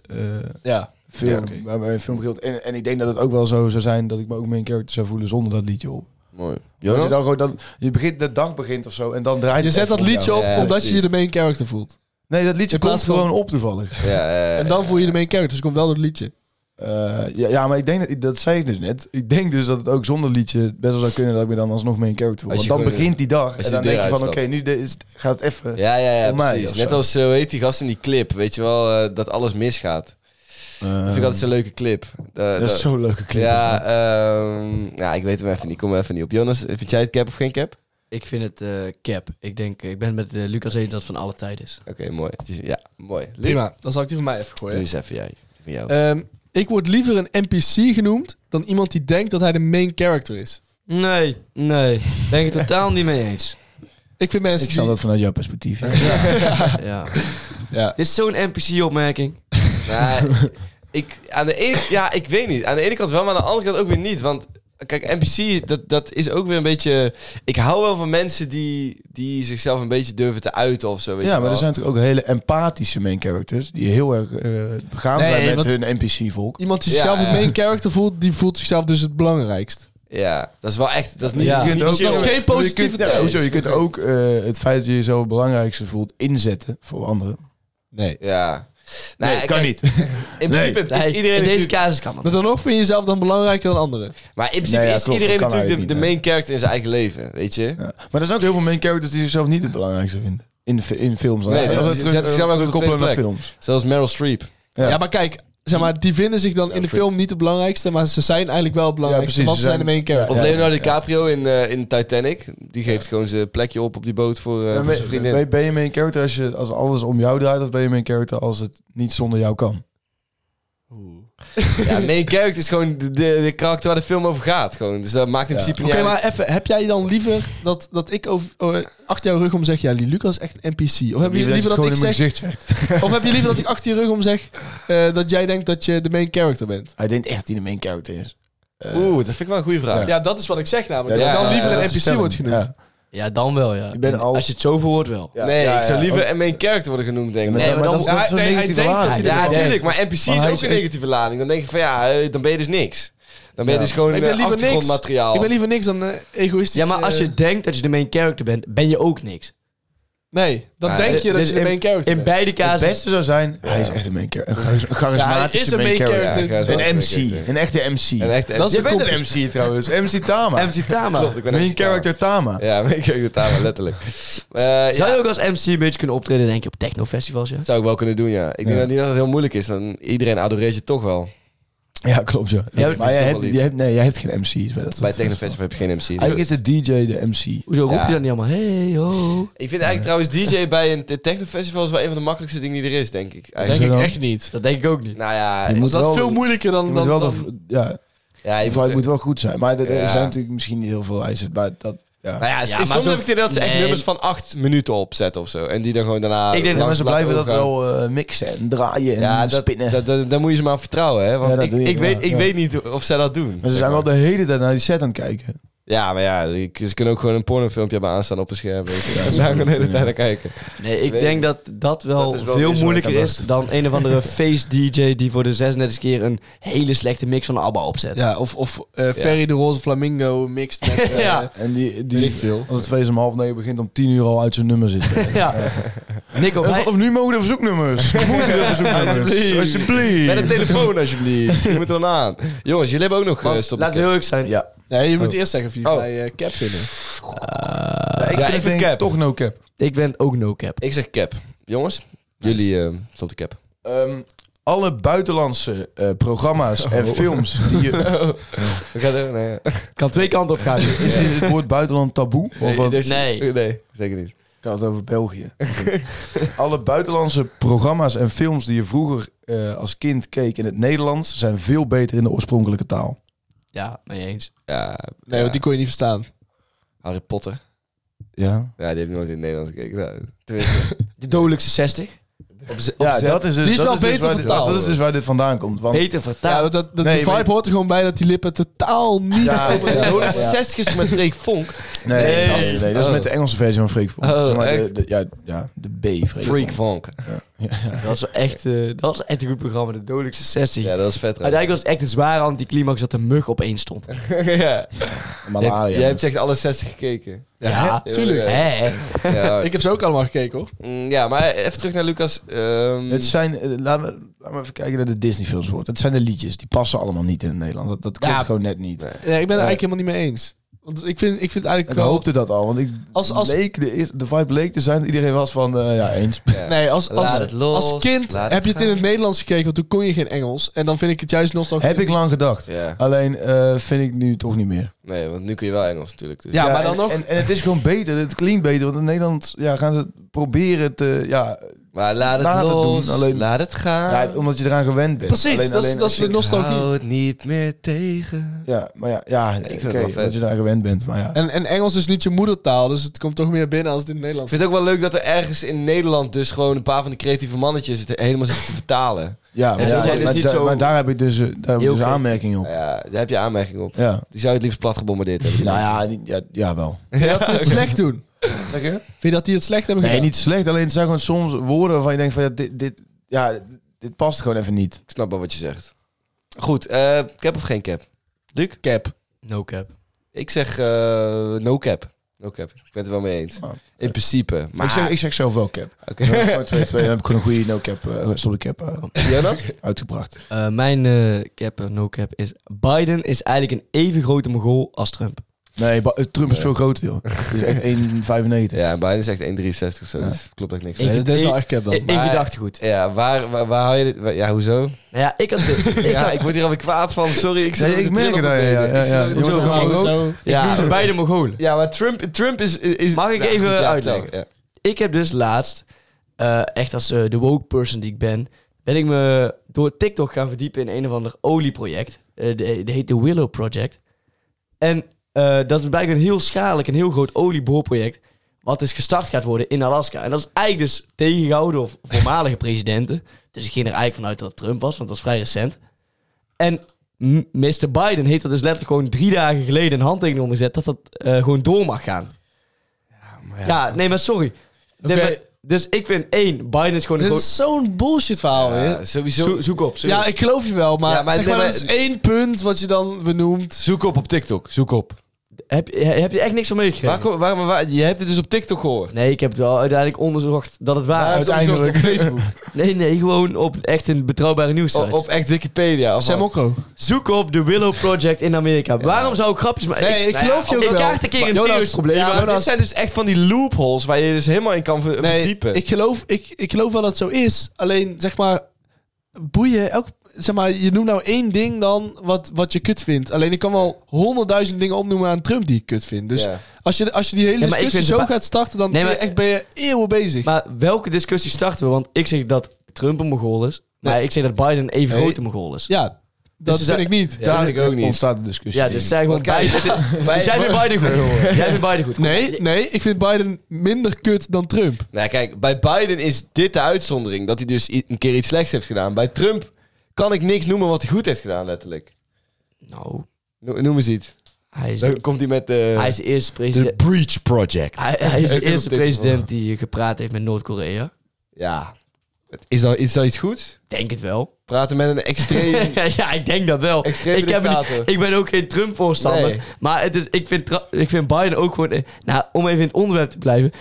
eh, eh,
Ja.
film,
Ja, oké.
waarbij een film geldt. En, en ik denk dat het ook wel zo zou zijn dat ik me ook mijn character zou voelen zonder dat liedje op.
Mooi.
Als je,
Jonas?
dan gewoon, dan, je begint, de dag begint of zo en dan draait
Je
het
zet
even
dat liedje
jou.
op
Ja,
omdat
precies.
je je de main character voelt.
Nee, dat liedje
In plaats
komt
van-
gewoon op toevallig.
Ja, eh,
En dan voel je de main character, dus komt wel door het liedje.
Eh, ja, ja, maar ik denk dat, dat zei ik dus net. Ik denk dus dat het ook zonder liedje best wel zou kunnen dat ik me dan alsnog mee in character word.
Als
Want
je
dan
gewoon-
begint die
als
dag en
je
dan
de deur
denk je van oké,
uitstapt.
nu de- is, het- gaat het even.
ja, ja, ja,
Voor mij
precies.
of
Net
zo.
als, eh, hoe heet die gast in die clip, weet je wel, eh, dat alles misgaat. Dat vind ik altijd zo'n leuke clip. Eh,
eh, dat is zo'n leuke clip.
Ja, eh,
is dat.
ehm, ja, ik weet hem even niet. Kom er even niet op. Jonas, vind jij het cap of geen cap?
Ik vind het eh, cap. Ik denk, ik ben het met eh, Lucas eens dat het van alle tijden is.
Oké, mooi. Het is- Ja, mooi. Lief,
Prima, dan zal ik die van mij even
doe
gooien.
eens even jij. Die Van jou.
Ehm, ik word liever een NPC genoemd dan iemand die denkt dat hij de main character is.
Nee, nee. Ben ik het totaal niet mee eens.
Ik vind mensen
Ik snap
die-
dat vanuit jouw perspectief. ja.
Ja.
Ja.
Dit is zo'n NPC-opmerking.
Nou, ik, aan de ene, ja, ik weet niet. Aan de ene kant wel, maar aan de andere kant ook weer niet. Want kijk, NPC, dat, dat is ook weer een beetje... Ik hou wel van mensen die, die zichzelf een beetje durven te uiten of zo. Weet je
Ja, maar
wel.
er zijn natuurlijk ook hele empathische main characters die heel erg eh, begaan
Nee,
zijn met
want-
hun NPC-volk.
Iemand die
Ja,
zichzelf
ja.
een main character voelt, die voelt zichzelf dus het belangrijkst.
Ja, dat is wel echt... Dat is niet...
Ja.
niet-
Dat
niet-
is geen positieve
Ja, hoezo? Je
tijd.
kunt ook eh, het feit dat je jezelf het belangrijkste voelt inzetten voor anderen.
Nee.
Ja. Nou,
nee, kan
kijk,
niet.
In principe is
Nee,
iedereen
in deze
natuurlijk...
casus kan dat.
Maar dan nog vind je jezelf dan belangrijker dan anderen.
Maar in principe
Nee, ja,
is
klopt,
iedereen
dat kan
natuurlijk de, de
eigenlijk
main character in zijn eigen leven, weet je?
Ja. Maar er zijn ook heel veel main characters die zichzelf niet het belangrijkste vinden. In, de fi- in films. dan.
Nee,
Ja,
die
dat is
zetten
terug-
zichzelf
eh,
ook op de
terugkoppelen
tweede
naar
plek.
films.
Zoals Meryl Streep.
Ja.
Ja, maar kijk, zeg maar, die vinden zich dan in de film niet de belangrijkste, maar ze zijn eigenlijk wel het belangrijkste,
precies,
want ze
ze
zijn de
zijn-
main character.
Of
Ja.
Leonardo DiCaprio in, eh, in Titanic. Die geeft gewoon zijn plekje op op die boot voor, eh,
Ja,
voor
maar
zijn vriendin.
ben, ben je main character als, je, als alles om jou draait of ben je main character als het niet zonder jou kan?
Ja, main character is gewoon de, de, de karakter waar de film over gaat. Gewoon. Dus dat maakt in
Ja.
principe
Oké,
niet uit.
maar even, heb jij dan liever dat, dat ik over, oh, achter jouw rug om zeg, ja, die Lucas is echt een NPC? Of heb je
Liever
liever
je het
dat
gewoon
ik
in mijn
zeg,
gezicht zegt.
of heb je liever dat ik achter je rug om zeg, eh, dat jij denkt dat je de main character bent?
Hij denkt echt dat hij de main character is.
Oeh, dat vind ik wel een goede vraag.
Ja.
Ja.
dat is wat ik zeg namelijk.
Ja,
dat ik
ja,
dan liever
ja,
een
dat
NPC wordt genoemd.
Ja, dan wel, ja.
Ik ben al-
Als je het zo verwoordt, wel.
Ja.
Nee,
Ja,
ik zou
ja,
liever een main character worden genoemd, denk ik.
Nee,
Nee,
maar,
maar
dat,
dan-
is- dat
Ja,
is een
nee, hij
negatieve
denkt dat
lading.
hij
ja,
dat
natuurlijk. Maar NPC
Maar
is
hij
ook
is
een
echt-
negatieve lading. Dan denk je van ja, eh, dan ben je dus niks. Dan ben je
Ja.
dus gewoon
Ik ben
eh,
liever niks.
achtergrondmateriaal.
Ik ben liever niks dan eh, egoïstisch.
Ja, maar als
eh,
je denkt dat je de main character bent, ben je ook niks.
Nee, dan
Ja,
denk
dit-
je dat
Dus
je de
in-
main character
In
bent.
beide
Het
cases.
beste zou zijn, hij is echt een main character. Een charis- charismatische
Ja, hij is een main character.
Ja, charismatische
Een
main
MC,
character.
een echte MC.
Een echte
Dat is
MC.
Je
een
bent
comp-
een MC trouwens, MC Tama.
MC Tama.
Klopt, ik ben
main
MC Tama.
character Tama.
Ja, main character Tama, letterlijk. Eh, ja.
Zou je ook als MC een beetje kunnen optreden, denk je, op technofestivals, ja?
Dat zou ik wel kunnen doen, ja. Ik denk
Ja.
dat niet dat het heel moeilijk is. Dan iedereen adoreert je toch wel.
Ja, klopt ja.
dat
maar
is
jij
toch
hebt,
wel lief.
jij hebt, nee, jij hebt geen MC's. Maar dat,
Bij
dat-
Technofestival heb je geen MC.
Eigenlijk is de DJ de MC.
Hoezo roep
Ja.
je dan niet allemaal? Hey, ho.
Ik vind eigenlijk trouwens DJ bij een te- technofestival is wel een van de makkelijkste dingen die er is, denk ik.
Denk
Eigenlijk.
ik
Zo dan-
echt niet.
Dat denk ik ook niet.
Nou ja,
Je
Dus
moet
dat is
wel-
veel moeilijker
Je
dan...
moet
dan,
wel
dan-
de, ja,
ja
je vibe moet wel goed zijn. Maar er, er
Ja.
zijn natuurlijk misschien niet heel veel eisen. Maar dat, ja.
Nou ja,
Ja,
soms
maar zo-
heb ik het idee dat ze echt
nee.
nummers van acht minuten opzetten of zo. En die dan gewoon daarna.
Ik denk dat
langs
Ze
laten
blijven dat
overgaan.
wel eh, mixen en draaien en
Ja, dat,
Mm, spinnen.
dat, dat, daar moet je ze maar op vertrouwen, hè? Want
Ja, dat
ik,
doe je,
ik,
ja,
weet, ik
ja.
weet niet of zij dat doen.
maar ze
zeg
zijn wel
maar.
de hele tijd naar die set aan het kijken.
Ja, maar ja, die- ze kunnen ook gewoon een pornofilmpje hebben aanstaan op een scherm. Weet je. Ze zijn gewoon de hele tijd naar kijken.
Nee, ik
Weet
denk dat dat wel,
Dat is wel
veel
weer zo
moeilijker
lekker
is dan een of andere face-dj die voor de 36 keer een hele slechte mix van ABBA opzet.
Ja, of, of eh, Ferry de Roze Flamingo mixed met... eh,
Ja.
En die,
Weet ik
die,
veel.
als het feest om half negen begint, om tien uur al uit zijn nummer zitten.
Ja. Nico, wij-
Of nu mogen de verzoeknummers. Moeten de verzoeknummers.
Alsjeblieft. Met een telefoon alsjeblieft. Je moet er dan aan. Jongens, jullie hebben ook nog
want
eh, stop.
laten we heel eerlijk zijn.
Ja,
Nee, je moet eerst zeggen of je
Oh.
bij eh, Cap vinden.
ik, ja, ik vind cap.
toch no cap.
Eh, Ik ben ook no cap.
Ik zeg cap. Jongens, jullie eh, stop de cap.
Ehm, alle buitenlandse eh, programma's en films die je...
We gaan er, nee.
Het kan twee kanten op gaan.
Is, is het woord buitenland taboe? Of wat?
deze-
Nee.
nee, zeker niet.
Ik had het over België. Alle buitenlandse programma's en films die je vroeger eh, als kind keek in het Nederlands... zijn veel beter in de oorspronkelijke taal.
Ja, mee eens.
Ja,
Nee, want die kon je niet verstaan.
Nou.
Harry Potter.
Ja,
Ja, die heb ik nooit in het Nederlands gekeken. Nou, tenminste.
De dodelijkste 60.
ja dat is dus,
Die is
dat
wel
dus
beter
waar dit-
vertaald.
Dat is dus waar dit vandaan komt. Want
Beter
Ja,
vertaald.
want dat, dat,
Nee,
de
maar-
vibe hoort er gewoon bij dat die lippen totaal niet...
Ja,
over-
ja.
Jonas 60 is met Freek Vonk.
Nee,
Nee.
dat is- nee, dat
Oh.
is met de Engelse versie van Freak Vonk.
Oh,
Zeg maar de,
echt?
de- ja, ja, de B Freak
Freak
Vonk.
Vonk.
Dat was wel echt, eh, dat was echt een goed programma, de dodelijkste 60.
Ja, dat is vet.
Uiteindelijk was het echt een zware anticlimax dat de mug opeens stond.
ja.
Malaria.
Jij hebt echt alle 60 gekeken.
Ja, tuurlijk.
Hè?
Ja,
Ik heb ze ook allemaal gekeken, hoor.
mm, ja, maar even terug naar Lucas. Ehm,
Het zijn, eh, laten we, laten we even kijken naar de Disney films wordt. Het zijn de liedjes, die passen allemaal niet in het Nederlands. Dat, dat klopt
Ja.
gewoon net niet.
Nee, ik ben het eigenlijk helemaal niet mee eens. Want ik vind, ik vind
Ik
eigenlijk wel...
hoopte dat al, want ik
Als- als-
leek de, eer- de vibe leek te zijn dat iedereen was van, eh, ja, eens.
Nee, als, als,
Laat het los,
als kind
laat
heb je het
het
in het
gaan.
Nederlands gekeken, want toen kon je geen Engels. En dan vind ik het juist nostalgisch.
Heb ik lang gedacht.
Ja.
Alleen eh, vind ik nu toch niet meer.
Nee, want nu kun je wel Engels natuurlijk. Dus.
Ja, maar dan
en,
nog-
En, en het is gewoon beter, het klinkt beter, want in Nederland ja, gaan ze proberen te, ja,
Maar laat het
Laat het
los,
doen, alleen-
laat het gaan.
ja, omdat je eraan gewend bent.
Precies,
Alleen-
dat is-
alleen
dat
als
is de
je-
nostalgie.
Hou het niet meer tegen.
Ja, maar ja, ja
vind het
oké,
wel vet.
omdat je eraan gewend bent, maar ja.
En, en Engels is niet je moedertaal, dus het komt toch meer binnen als het in het
Ik
Nederlands.
vind het ook wel leuk dat er ergens in Nederland dus gewoon een paar van die creatieve mannetjes het helemaal zitten te vertalen.
Ja, maar,
ze
ja,
zijn dus
maar
niet
daar-
zo-
maar daar heb ik dus, eh, daar heb ik
Heel
dus
goed.
aanmerking op.
Nou Ja, daar heb je aanmerking op.
Ja.
Die zou je het liefst plat gebombardeerd hebben. die
Nou
mensen.
ja, niet- ja, ja wel.
Dat die het slecht doen.
Zeg je?
Vind je dat die het slecht hebben
Nee,
gedaan?
niet slecht. Alleen het zijn gewoon soms woorden waarvan je denkt van ja, dit, dit, ja, dit past gewoon even niet.
Ik snap wel wat je zegt. Goed, eh, cap of geen cap? Luc? Cap.
No cap.
Ik zeg eh, no cap. No cap. Ik ben het er wel mee eens.
Oh.
In principe. Maar...
Ik, zeg, ik zeg zelf wel cap.
Oké.
Dan heb ik gewoon een goede no-cap, eh sorry cap eh,
Jonas?
uitgebracht.
Eh, mijn eh, cap, eh, no cap, is... Biden is eigenlijk een even grote mogol als Trump.
Nee, Ba- eh, Trump is veel groter, joh. Het is echt 1,95.
Ja, Biden zegt 1,63 of zo. Dus klopt echt niks.
Ik-
Nee, dat is wel echt cap dan.
In, in
Maar-
gedachtegoed.
Ja, waar, waar, waar hou je dit? waar- Ja, hoezo?
Nou ja, ik had... ik
Ja,
had-
ik word hier alweer kwaad van. Sorry, ik, zit
Nee,
met
ik
de
merk
trillen
het
op
aan
de
je, ja,
benen.
ja,
Ik
ja.
zit
Je
met de
wordt
trillen
ook
op de
rood.
benen.
Zo.
Ik noem ze beide mogolen.
Ja, maar Trump, Trump is, is...
Mag ik
Ja,
even
goed, ja,
uitleggen?
vertel, ja.
Ik heb dus laatst, eh, echt als eh, de woke person die ik ben, ben ik me door TikTok gaan verdiepen in een of ander olieproject. Eh de, de heet de Willow Project. En eh, dat is blijkbaar een heel schadelijk en heel groot olieboorproject. Wat dus gestart gaat worden in Alaska. En dat is eigenlijk dus tegengehouden of voormalige presidenten. Dus ik ging er eigenlijk vanuit dat het Trump was, want dat was vrij recent. En m- Mr. Biden heeft er dus letterlijk gewoon drie dagen geleden een handtekening onder gezet dat dat eh, gewoon door mag gaan. Ja, nee, maar sorry. Nee,
Oké.
maar- dus ik vind één, Biden is gewoon een
Dit
groot...
is zo'n bullshit verhaal
Oh, Ja,
weer.
sowieso.
Zo- zoek op.
Ja, ik geloof je wel, maar,
Ja, maar
zeg
nee,
maar,
maar-
dat is één punt wat je dan benoemt.
Zoek op op TikTok. Zoek op.
Heb, heb je echt niks van meegekregen?
Waar, kom- waar, maar waar- je hebt het dus op TikTok gehoord.
Nee, ik heb het wel uiteindelijk onderzocht dat het waar
dus
is.
Uiteindelijk. Op Facebook.
Nee, nee, gewoon op echt een betrouwbare nieuwssite.
O- Oh, op echt Wikipedia. Of
Sam
wat?
Mokro.
Zoek op de Willow Project in Amerika. Waarom zou ik grapjes maken? Nou
Nee, ik geloof je ook
ik
wel.
kaart een keer een
Jonas,
serieus probleem
Ja,
aan.
maar dit zijn dus echt van die loopholes waar je je dus helemaal in kan ver-
Nee,
verdiepen.
ik geloof, ik, ik geloof wel dat het zo is. Alleen, zeg maar, boeien. Elk, zeg maar, je noemt nou één ding dan wat, wat je kut vindt. Alleen, ik kan wel honderdduizend dingen opnoemen aan Trump die ik kut vind. Dus
Ja.
als, je, als je die hele
maar ik
discussie
vind de
zo
ba-
gaat starten, dan
Nee,
ben je
maar-
echt, ben je eeuwen bezig.
Maar welke discussie starten we? Want ik zeg dat Trump een mogol is. Maar
Nee.
ik zeg dat Biden een even
Nee.
grote mogol Dus is.
ja, dat
ze
vind
zijn-
ik niet.
Ja, dat vind ik ook niet.
ontstaat de discussie.
Ja, dus zijn gewoon
kijk,
beide. Dus jij vindt Biden goed. jij vindt Biden goed. Kom,
Nee, nee, ik vind Biden minder kut dan Trump.
Nou, kijk, bij Biden is dit de uitzondering. Dat hij dus i- een keer iets slechts heeft gedaan. Bij Trump kan ik niks noemen wat hij goed heeft gedaan, letterlijk.
Nou,
No- Noem eens iets.
hij is, de,
Dan komt hij met eh, de...
hij is de eerste president.
Breach Project.
Hij, hij is
Ik
de
vind
eerste
het dit-
president die gepraat heeft met Noord-Korea.
Ja. Het- Is dat, is dat iets goeds?
Denk het wel.
Praten met een extreem...
ja, ik denk dat wel.
Extreme
ik, heb
dictator.
niet- ik ben ook geen Trump-voorstander.
Nee.
Maar het is, ik, vind, tra- ik vind Biden ook gewoon... eh, Nou, om even in het onderwerp te blijven.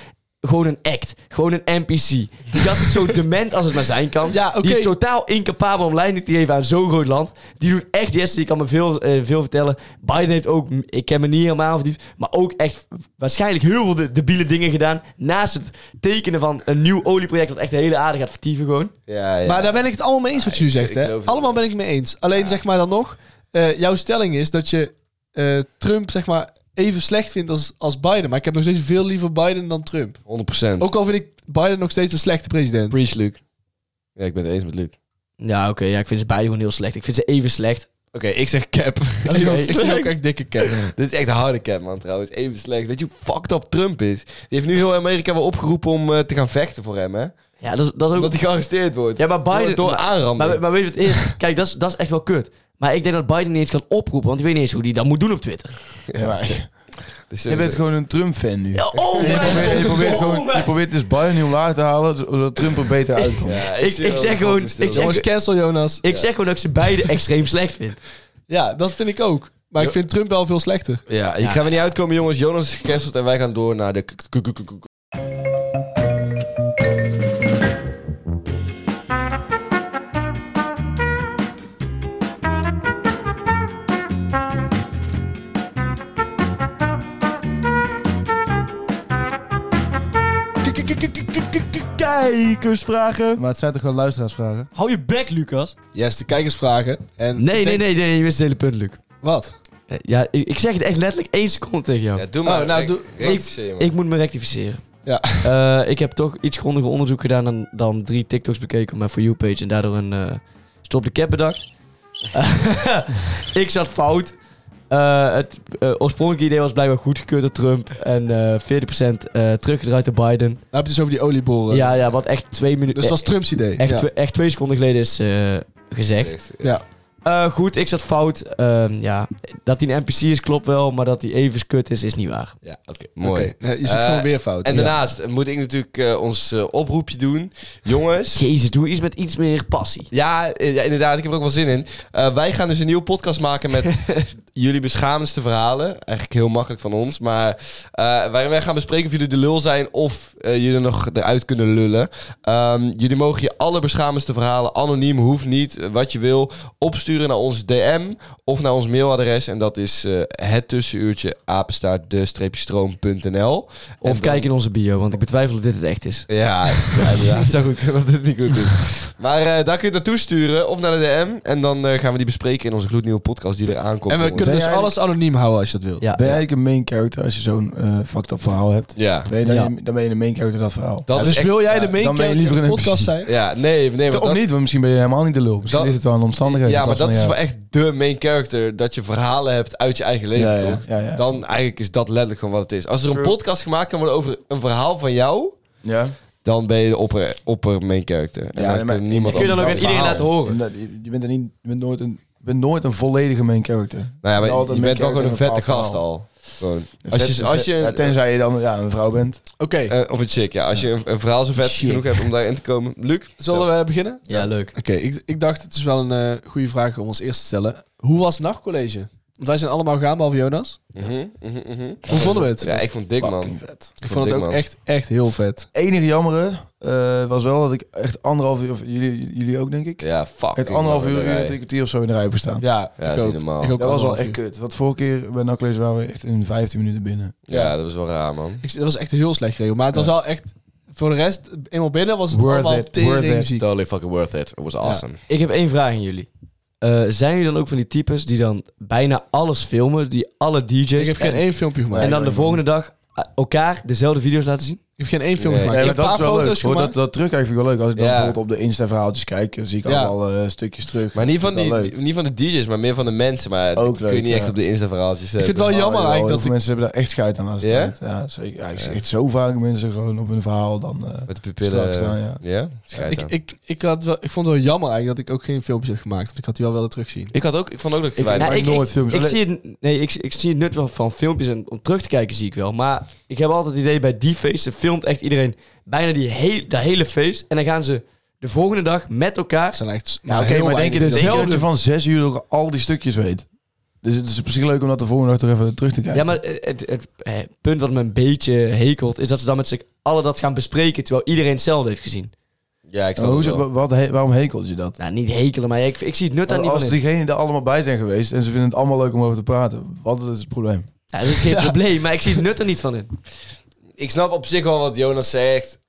Gewoon een act. Gewoon een NPC. Die gast is zo dement als het maar zijn kan.
Ja, oké.
Die is totaal incapabel om leiding te geven aan zo'n groot land. Die doet echt yes. Die kan me veel, eh, veel vertellen. Biden heeft ook... Ik ken me niet helemaal verdiept. Maar ook echt waarschijnlijk heel veel de- debiele dingen gedaan. Naast het tekenen van een nieuw olieproject... dat echt de hele aarde gaat vertieven gewoon.
ja, ja.
Maar daar ben ik het allemaal mee eens wat
Ja,
jullie
ik-
zegt.
ik
hè?
geloof het
Allemaal
wel.
ben ik mee eens. Alleen zeg maar dan nog, eh, jouw stelling is dat je eh, Trump zeg maar even slecht vindt als, als Biden. Maar ik heb nog steeds veel liever Biden dan Trump.
100%.
Ook al vind ik Biden nog steeds een slechte president.
Preach, Luc. Ja, ik ben het eens met Luc. Oké,
Ja, oké. ja, ik vind ze beide gewoon heel slecht. Ik vind ze even slecht.
ik zeg cap.
Ik zie ook- Ik zie ook echt dikke cap.
Dit is echt een harde cap, man, trouwens. Even slecht. Weet je hoe fucked up Trump is? Die heeft nu heel Amerika wel opgeroepen om eh, te gaan vechten voor hem, hè?
Ja, dat is, dat is ook...
Omdat hij gearresteerd wordt.
Ja, maar Biden...
Door- door aanranden.
Maar, maar weet je wat het is? Kijk, dat is, dat is echt wel kut. Maar ik denk dat Biden niet eens kan oproepen, want ik weet niet eens hoe die dat moet doen op Twitter.
Ja, maar-
Dus
je bent gewoon een Trump-fan nu.
Oh,
Je probeert, je, probeert
Oh,
gewoon, je probeert dus Biden heel laag te halen, zodat Trump er beter uitkomt.
ik, ik zeg gewoon... Ik zeg,
Jongens, cancel Jonas.
ik zeg gewoon dat ik ze beide extreem slecht vind.
Ja, dat vind ik ook. Maar ik vind Trump wel veel slechter.
Ja, ik ga er niet uitkomen, jongens. Jonas is gecanceld en wij gaan door naar de... k- k- k- k- k-
kijkersvragen.
Maar het zijn toch gewoon luisteraarsvragen?
Hou je bek, Lucas.
Yes, de kijkersvragen. En
Nee, nee, nee, nee, je mist het hele punt, Luc.
Wat? Nou,
Eh, Ja, ik, ik zeg het echt letterlijk één seconde tegen jou.
Ja, doe
Oh,
maar.
nou,
Rek-
doe-
rectificeer je maar.
Ik moet me rectificeren.
Ja.
Eh, ik heb toch iets grondiger onderzoek gedaan dan, dan drie TikToks bekeken op mijn For You-page. En daardoor een eh, stop de cap bedacht. ik zat fout. Eh, het eh, oorspronkelijke idee was blijkbaar goedgekeurd door Trump. En eh 40% eh, teruggedraaid door Biden.
Nou heb je het dus over die olieboren.
Ja, ja, wat echt twee minuten...
Dus dat is Trumps idee.
echt,
ja.
twee- echt twee seconden geleden is eh, gezegd.
Ja.
Eh, goed, ik zat fout. Ehm, ja, dat hij een NPC is klopt wel, maar dat hij even kut is, is niet waar.
Ja, oké.
Oké,
Mooi.
nee, je zit
Eh,
gewoon weer fout.
En
Ja.
daarnaast moet ik natuurlijk eh, ons eh, oproepje doen. Jongens.
Jezus, doe iets met iets meer passie.
Ja, eh, ja, inderdaad. Ik heb er ook wel zin in. Eh, wij gaan dus een nieuwe podcast maken met jullie beschamendste verhalen. Eigenlijk heel makkelijk van ons. Maar eh, waarin wij gaan bespreken of jullie de lul zijn of eh, jullie er nog eruit kunnen lullen. Ehm, jullie mogen je alle beschamendste verhalen, anoniem, hoeft niet, eh, wat je wil, opsturen naar ons DM of naar ons mailadres. En dat is eh, het tussenuurtje apenstaart de-stroom.nl.
Of kijk in onze bio, want ik betwijfel of dit het echt is.
Ja, ja, inderdaad. Het zou goed kunnen dat dit niet goed is. Maar eh, daar kun je het naartoe sturen of naar de DM. En dan eh, gaan we die bespreken in onze gloednieuwe podcast die er aankomt.
En we
jongens.
kunnen dus
Ben jij-
alles anoniem houden als je dat wilt.
Ja.
Ben jij eigenlijk een main character als je zo'n eh fucked up verhaal hebt?
Ja,
Ben je dan,
Ja.
dan ben je de main character van dat verhaal.
dat
Ja,
is
dus
echt...
wil jij
ja,
de main
dan ben je
character
liever
in de
een
podcast
NPC.
zijn?
Ja, nee, nee.
Of
want dat-
niet, want misschien ben je helemaal niet de lul. Misschien
Dat-
ligt het wel aan de omstandigheden.
Ja,
in
maar
plaats
dat is
van
wel
jou.
echt de main character. Dat je verhalen hebt uit je eigen leven,
Ja, ja,
toch?
ja, ja.
Dan eigenlijk is dat letterlijk gewoon wat het is. Als er een
True.
podcast gemaakt kan worden over een verhaal van jou...
Ja.
Dan ben je de opper, opper main character. En
Ja,
dan
maar-
kan niemand
Kun je dan ook aan
anders dat
iedereen laten
verhaal.
horen?
En dat- Je je bent, er niet, je bent, nooit een, je bent nooit een volledige main character.
Nou ja, maar
Altijd
je
main
bent wel gewoon een vette
character in een
gast al. Gewoon. Als je,
Vet-
als je
vet- ja, tenzij je dan ja, een vrouw bent.
Oké,
Eh, of een chick, ja. Als je een, een verhaal zo vet
Chick.
genoeg hebt om daarin te komen. Luc?
zullen we beginnen?
Ja, leuk.
Oké, ik, ik dacht het is wel een eh, goede vraag om als eerst te stellen. Hoe was het nachtcollege? Want wij zijn allemaal gegaan, behalve Jonas.
Mhm, mhm, mhm.
Hoe vonden we het?
Ja, ik vond dik, man.
Fucking vet.
ik vond het ook
man.
echt, echt heel vet.
enige jammere eh, was wel dat ik echt anderhalf uur, of jullie, jullie ook denk ik,
Ja, fuck.
echt anderhalf uur, uur en drie kwartier of zo in de rij hebben staan.
Ja,
Ja, dat
ik
is niet
ook.
normaal.
Ik ook
dat was wel
anderhalf
echt
uur.
kut. Want vorige keer bij Naklees waren we echt in 15 minuten binnen.
Ja, dat was wel raar, man.
Ik, dat was echt heel slecht geregeld. Maar het was wel echt... Voor de rest, eenmaal binnen was het
Worth
allemaal
it, worth
tering
it.
ziek.
Totally fucking worth it. It was awesome.
Ik heb één vraag aan jullie. Eh, zijn jullie dan ook van die types die dan bijna alles filmen, die alle DJ's...
Ik heb geen
en,
één filmpje gemaakt.
en dan de volgende dag eh, elkaar dezelfde video's laten zien?
Ik heb geen één filmpje
Nee,
gemaakt.
maar
ik heb een
dat
paar
is wel leuk.
foto's
Hoor, dat,
gemaakt.
dat terug vind ik wel leuk. Als ik dan
Ja.
bijvoorbeeld op de Insta-verhaaltjes kijk, dan zie ik
Ja.
allemaal eh, stukjes terug.
Maar niet van,
Dat
die,
is wel leuk.
niet van de DJ's, maar meer van de mensen. Maar dat
Ook
kun je
leuk,
niet echt
ja.
op de Insta-verhaaltjes
Ik
zetten.
vind het wel jammer
Heel
eigenlijk
veel
dat ik...
mensen hebben daar echt scheid aan. Als het
Ja?
gaat. ja, zeker. Ja, ik zie echt zo vaak mensen gewoon op hun verhaal dan... eh,
Met de pupillen.
Straks dan, ja.
Schijt
Ik,
aan.
ik, ik, had wel, ik vond het wel jammer eigenlijk dat ik ook geen filmpjes heb gemaakt. Want ik had die wel willen terugzien.
Ik had ook, ik vond ook dat ik te
Ik-
weinig...
maak
ik, nou,
nooit
ik-
films.
Ik
Alleen-
zie, het, nee, ik, ik zie het nut wel van filmpjes en om terug te kijken zie ik wel. Maar ik heb altijd het idee, bij die feesten filmt echt iedereen bijna die heel, dat hele feest. En dan gaan ze de volgende dag met elkaar...
Het zijn echt
Ja, oké, maar denk je,
het
denk je
zelf-
dat je van zes uur ook al die stukjes weet? Dus het is op zich leuk om dat de volgende dag er even terug te kijken.
Ja, maar het, het, het, eh, punt wat me een beetje hekelt... is dat ze dan met z'n allen dat gaan bespreken... terwijl iedereen hetzelfde heeft gezien.
Ja, ik snap
Maar
het
hoezo-
wel.
wa- wat, he- waarom hekelt je dat?
Nou, niet hekelen, maar ik, ik zie het nut daar
Want
niet van
Oh, als
in.
diegenen er allemaal bij zijn geweest en ze vinden het allemaal leuk om over te praten, wat is het probleem?
Ja, dat is geen probleem, maar ik zie het nut er niet van in.
Ik snap op zich wel wat Jonas zegt.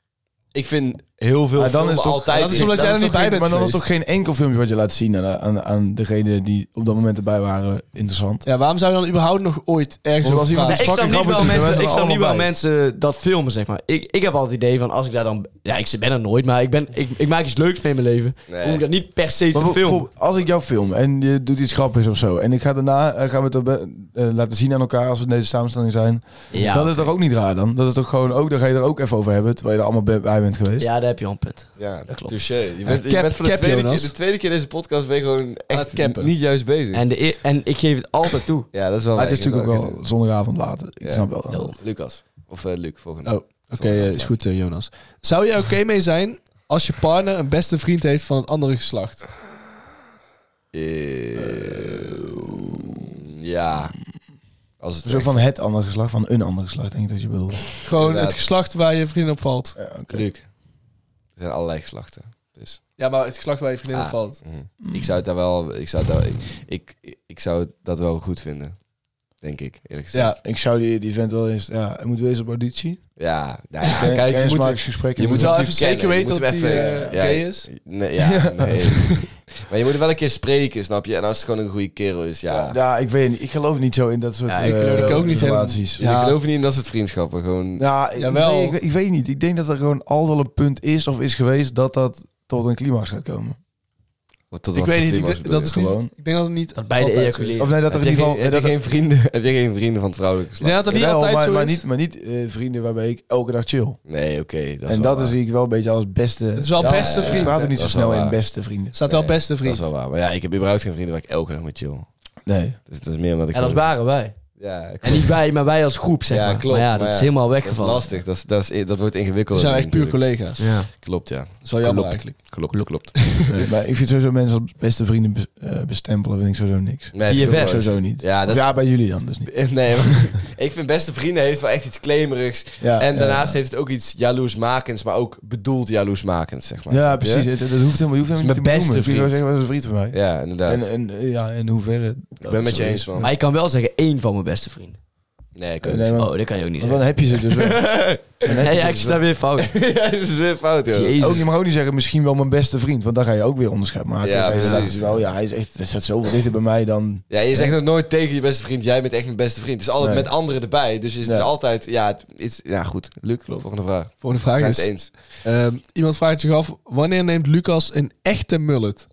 Ik vind heel veel
Maar dan
filmen
is toch-
altijd...
dat is omdat
Dat
jij
is
er niet
toch
bij
geen-
bent
Maar dan is
geweest.
toch geen enkel filmpje wat je laat zien aan, aan, aan degenen die op dat moment erbij waren interessant.
Ja, waarom zou je dan überhaupt nog ooit ergens
Want
over
als iemand-
praten?
Nee, ik snap
fucking
niet
grappig,
wel
die
mensen,
mensen
ik snap
allemaal
niet wel
bij.
mensen dat filmen, zeg maar. Ik, ik heb altijd het idee van, als ik daar dan... Ja, ik ben er nooit, maar ik, ben, ik, ik maak iets leuks mee in mijn leven.
Nee.
Hoef ik dat niet per se
Maar
te filmen.
bijvoorbeeld, als ik jou film en je doet iets grappigs of zo, en ik ga daarna eh, gaan we het op- eh, laten zien aan elkaar als we in deze samenstelling zijn,
Ja,
dat is toch ook niet raar dan? Dat is toch gewoon ook, daar ga je er ook even over hebben, terwijl je er allemaal bij- bij bent geweest.
ja, daar heb je al een punt.
Ja,
Dat klopt.
touché. Je bent, je
cap-
bent voor de
cap,
tweede, keer,
Jonas.
de tweede keer deze podcast ben je gewoon
het
echt
cappen.
niet juist bezig.
En, de, e- en ik geef het altijd toe.
ja, dat is wel
Maar het is
waar, ik
natuurlijk
vind
ook
het
wel zondagavond later. Ik
Ja.
snap wel. dat.
Lul.
Lucas. Of eh, Luc, volgende.
Oh, oké, eh, is goed eh, Jonas. Zou je oké mee zijn als je partner een beste vriend heeft van het andere geslacht?
Eh, ja. Als het
Zo
echt-
van het andere geslacht, van een ander geslacht, denk ik dat je bedoelt.
Gewoon
Inderdaad.
het geslacht waar je vriendin op valt.
Ja, oké.
Luc. Er zijn allerlei geslachten. Dus.
Ja, maar het geslacht waar je vriendin
Ah.
op valt.
mhm. Ik zou het daar wel. Ik zou, het daar, ik, ik, ik zou dat wel goed vinden. Denk ik, eerlijk gezegd.
Ja, ik zou die, die vent wel eens... Ja, hij moet wel eens op auditie.
Ja, nou ja,
Ken-
kijk, je moet,
kennismakingsgesprek.
je moet
wel
hem
even
natuurlijk
zeker
kennen. Je
weten
moet
dat
hem
hij,
even,
eh,
ja,
gay is.
Nee, ja, nee. maar je moet hem wel een keer spreken, snap je? En als het gewoon een goede kerel is, ja. Dus
Ja. ik weet niet. Ik geloof niet zo in dat soort
Ja,
ja,
ik
geloof ook niet
relaties.
helemaal. Ja.
Ik geloof niet in dat soort vriendschappen. Gewoon,
Ja, ik,
Jawel.
Weet, ik, weet- ik weet niet. Ik denk dat er gewoon altijd wel een punt is of is geweest dat dat tot een climax gaat komen.
wat- tot
Ik
wat
weet
voor
niet, ik-
klimax bedoel
dat
je?
is niet-
Gewoon.
Ik denk dat het niet
Dat beide
altijd zo is.
ejaculeren.
Of nee, dat er
heb
in
je
ieder
geen- Heb
geval... dat
je
er-
geen vrienden, heb je geen vrienden van het vrouwelijke
Ik denk
geslacht?
dat dat niet
Jawel,
altijd
maar,
zo
maar
is.
niet, maar niet eh, vrienden waarbij ik elke dag chill.
Nee, oké. dat is wel
en dat
waar.
zie ik wel een beetje als beste...
Het is wel
Ja,
beste
ja, ja.
vriend.
Ik praat er niet
Dat
zo
is wel
snel in
waar.
beste vrienden.
Er staat wel
Nee,
beste vriend.
Dat is wel waar. Maar ja, ik heb überhaupt geen vrienden waar ik elke dag mee chill.
Nee.
Dus dat is meer omdat ik...
En dat
gewoon-
waren wij.
Ja, klopt.
En niet wij, maar wij als groep, zeg
Ja,
maar.
klopt,
maar ja,
maar
dat is
ja,
helemaal
Dat is
weggevallen.
lastig. Dat, is, dat, is, dat wordt
We
ingewikkelder.
zijn echt puur
natuurlijk.
collega's.
Ja.
Klopt, ja.
Dat is wel jammer
Klopt.
eigenlijk.
Klopt, klopt.
Nee, maar ik vind sowieso mensen als beste vrienden bes- eh, bestempelen, vind ik sowieso niks.
Nee, vind ik
Of
ook wel eens.
Sowieso niet.
Ja,
Of
dat is-
ja, bij jullie dan dus niet.
Nee, maar ik vind beste vrienden heeft wel echt iets claimerigs.
Ja,
en
ja,
daarnaast
ja.
heeft het ook iets jaloersmakends, maar ook bedoeld jaloersmakends, zeg maar.
Ja,
Snap je?
precies. Het- Dat hoeft helemaal, je hoeft helemaal
is
niet te
mijn beste
benoemen. Je kunt gewoon
vriend.
zeggen, dat is een vriend van mij.
Ja, inderdaad.
En, en, eh, ja, en in hoeverre...
ik ben met je eens, man.
Maar ik kan wel zeggen, één van mijn beste vrienden.
Nee, ik
Eh,
ook
nee,
niet.
maar-
Oh, dat kan je ook niet
Want dan
zeggen.
heb je ze dus wel. Dan
Nee,
heb je
ja,
ze
ik
dus
sta weer fout.
ja, dit is weer fout, joh.
Jezus.
Ook, je mag ook niet zeggen, misschien wel mijn beste vriend. Want dan ga je ook weer onderscheid maken.
Ja,
Ja,
precies.
staat, oh ja, hij, is echt, hij staat zoveel dichter bij mij dan...
Ja, je zegt ook nooit tegen je beste vriend, jij bent echt mijn beste vriend. Het is altijd
Nee.
met anderen erbij, dus het is
Ja.
altijd... Ja, het, het is- ja goed. Luc, volgende vraag. We
Volgende vraag
zijn
is...
het eens.
ehm, iemand vraagt zich af, wanneer neemt Lucas een echte mullet?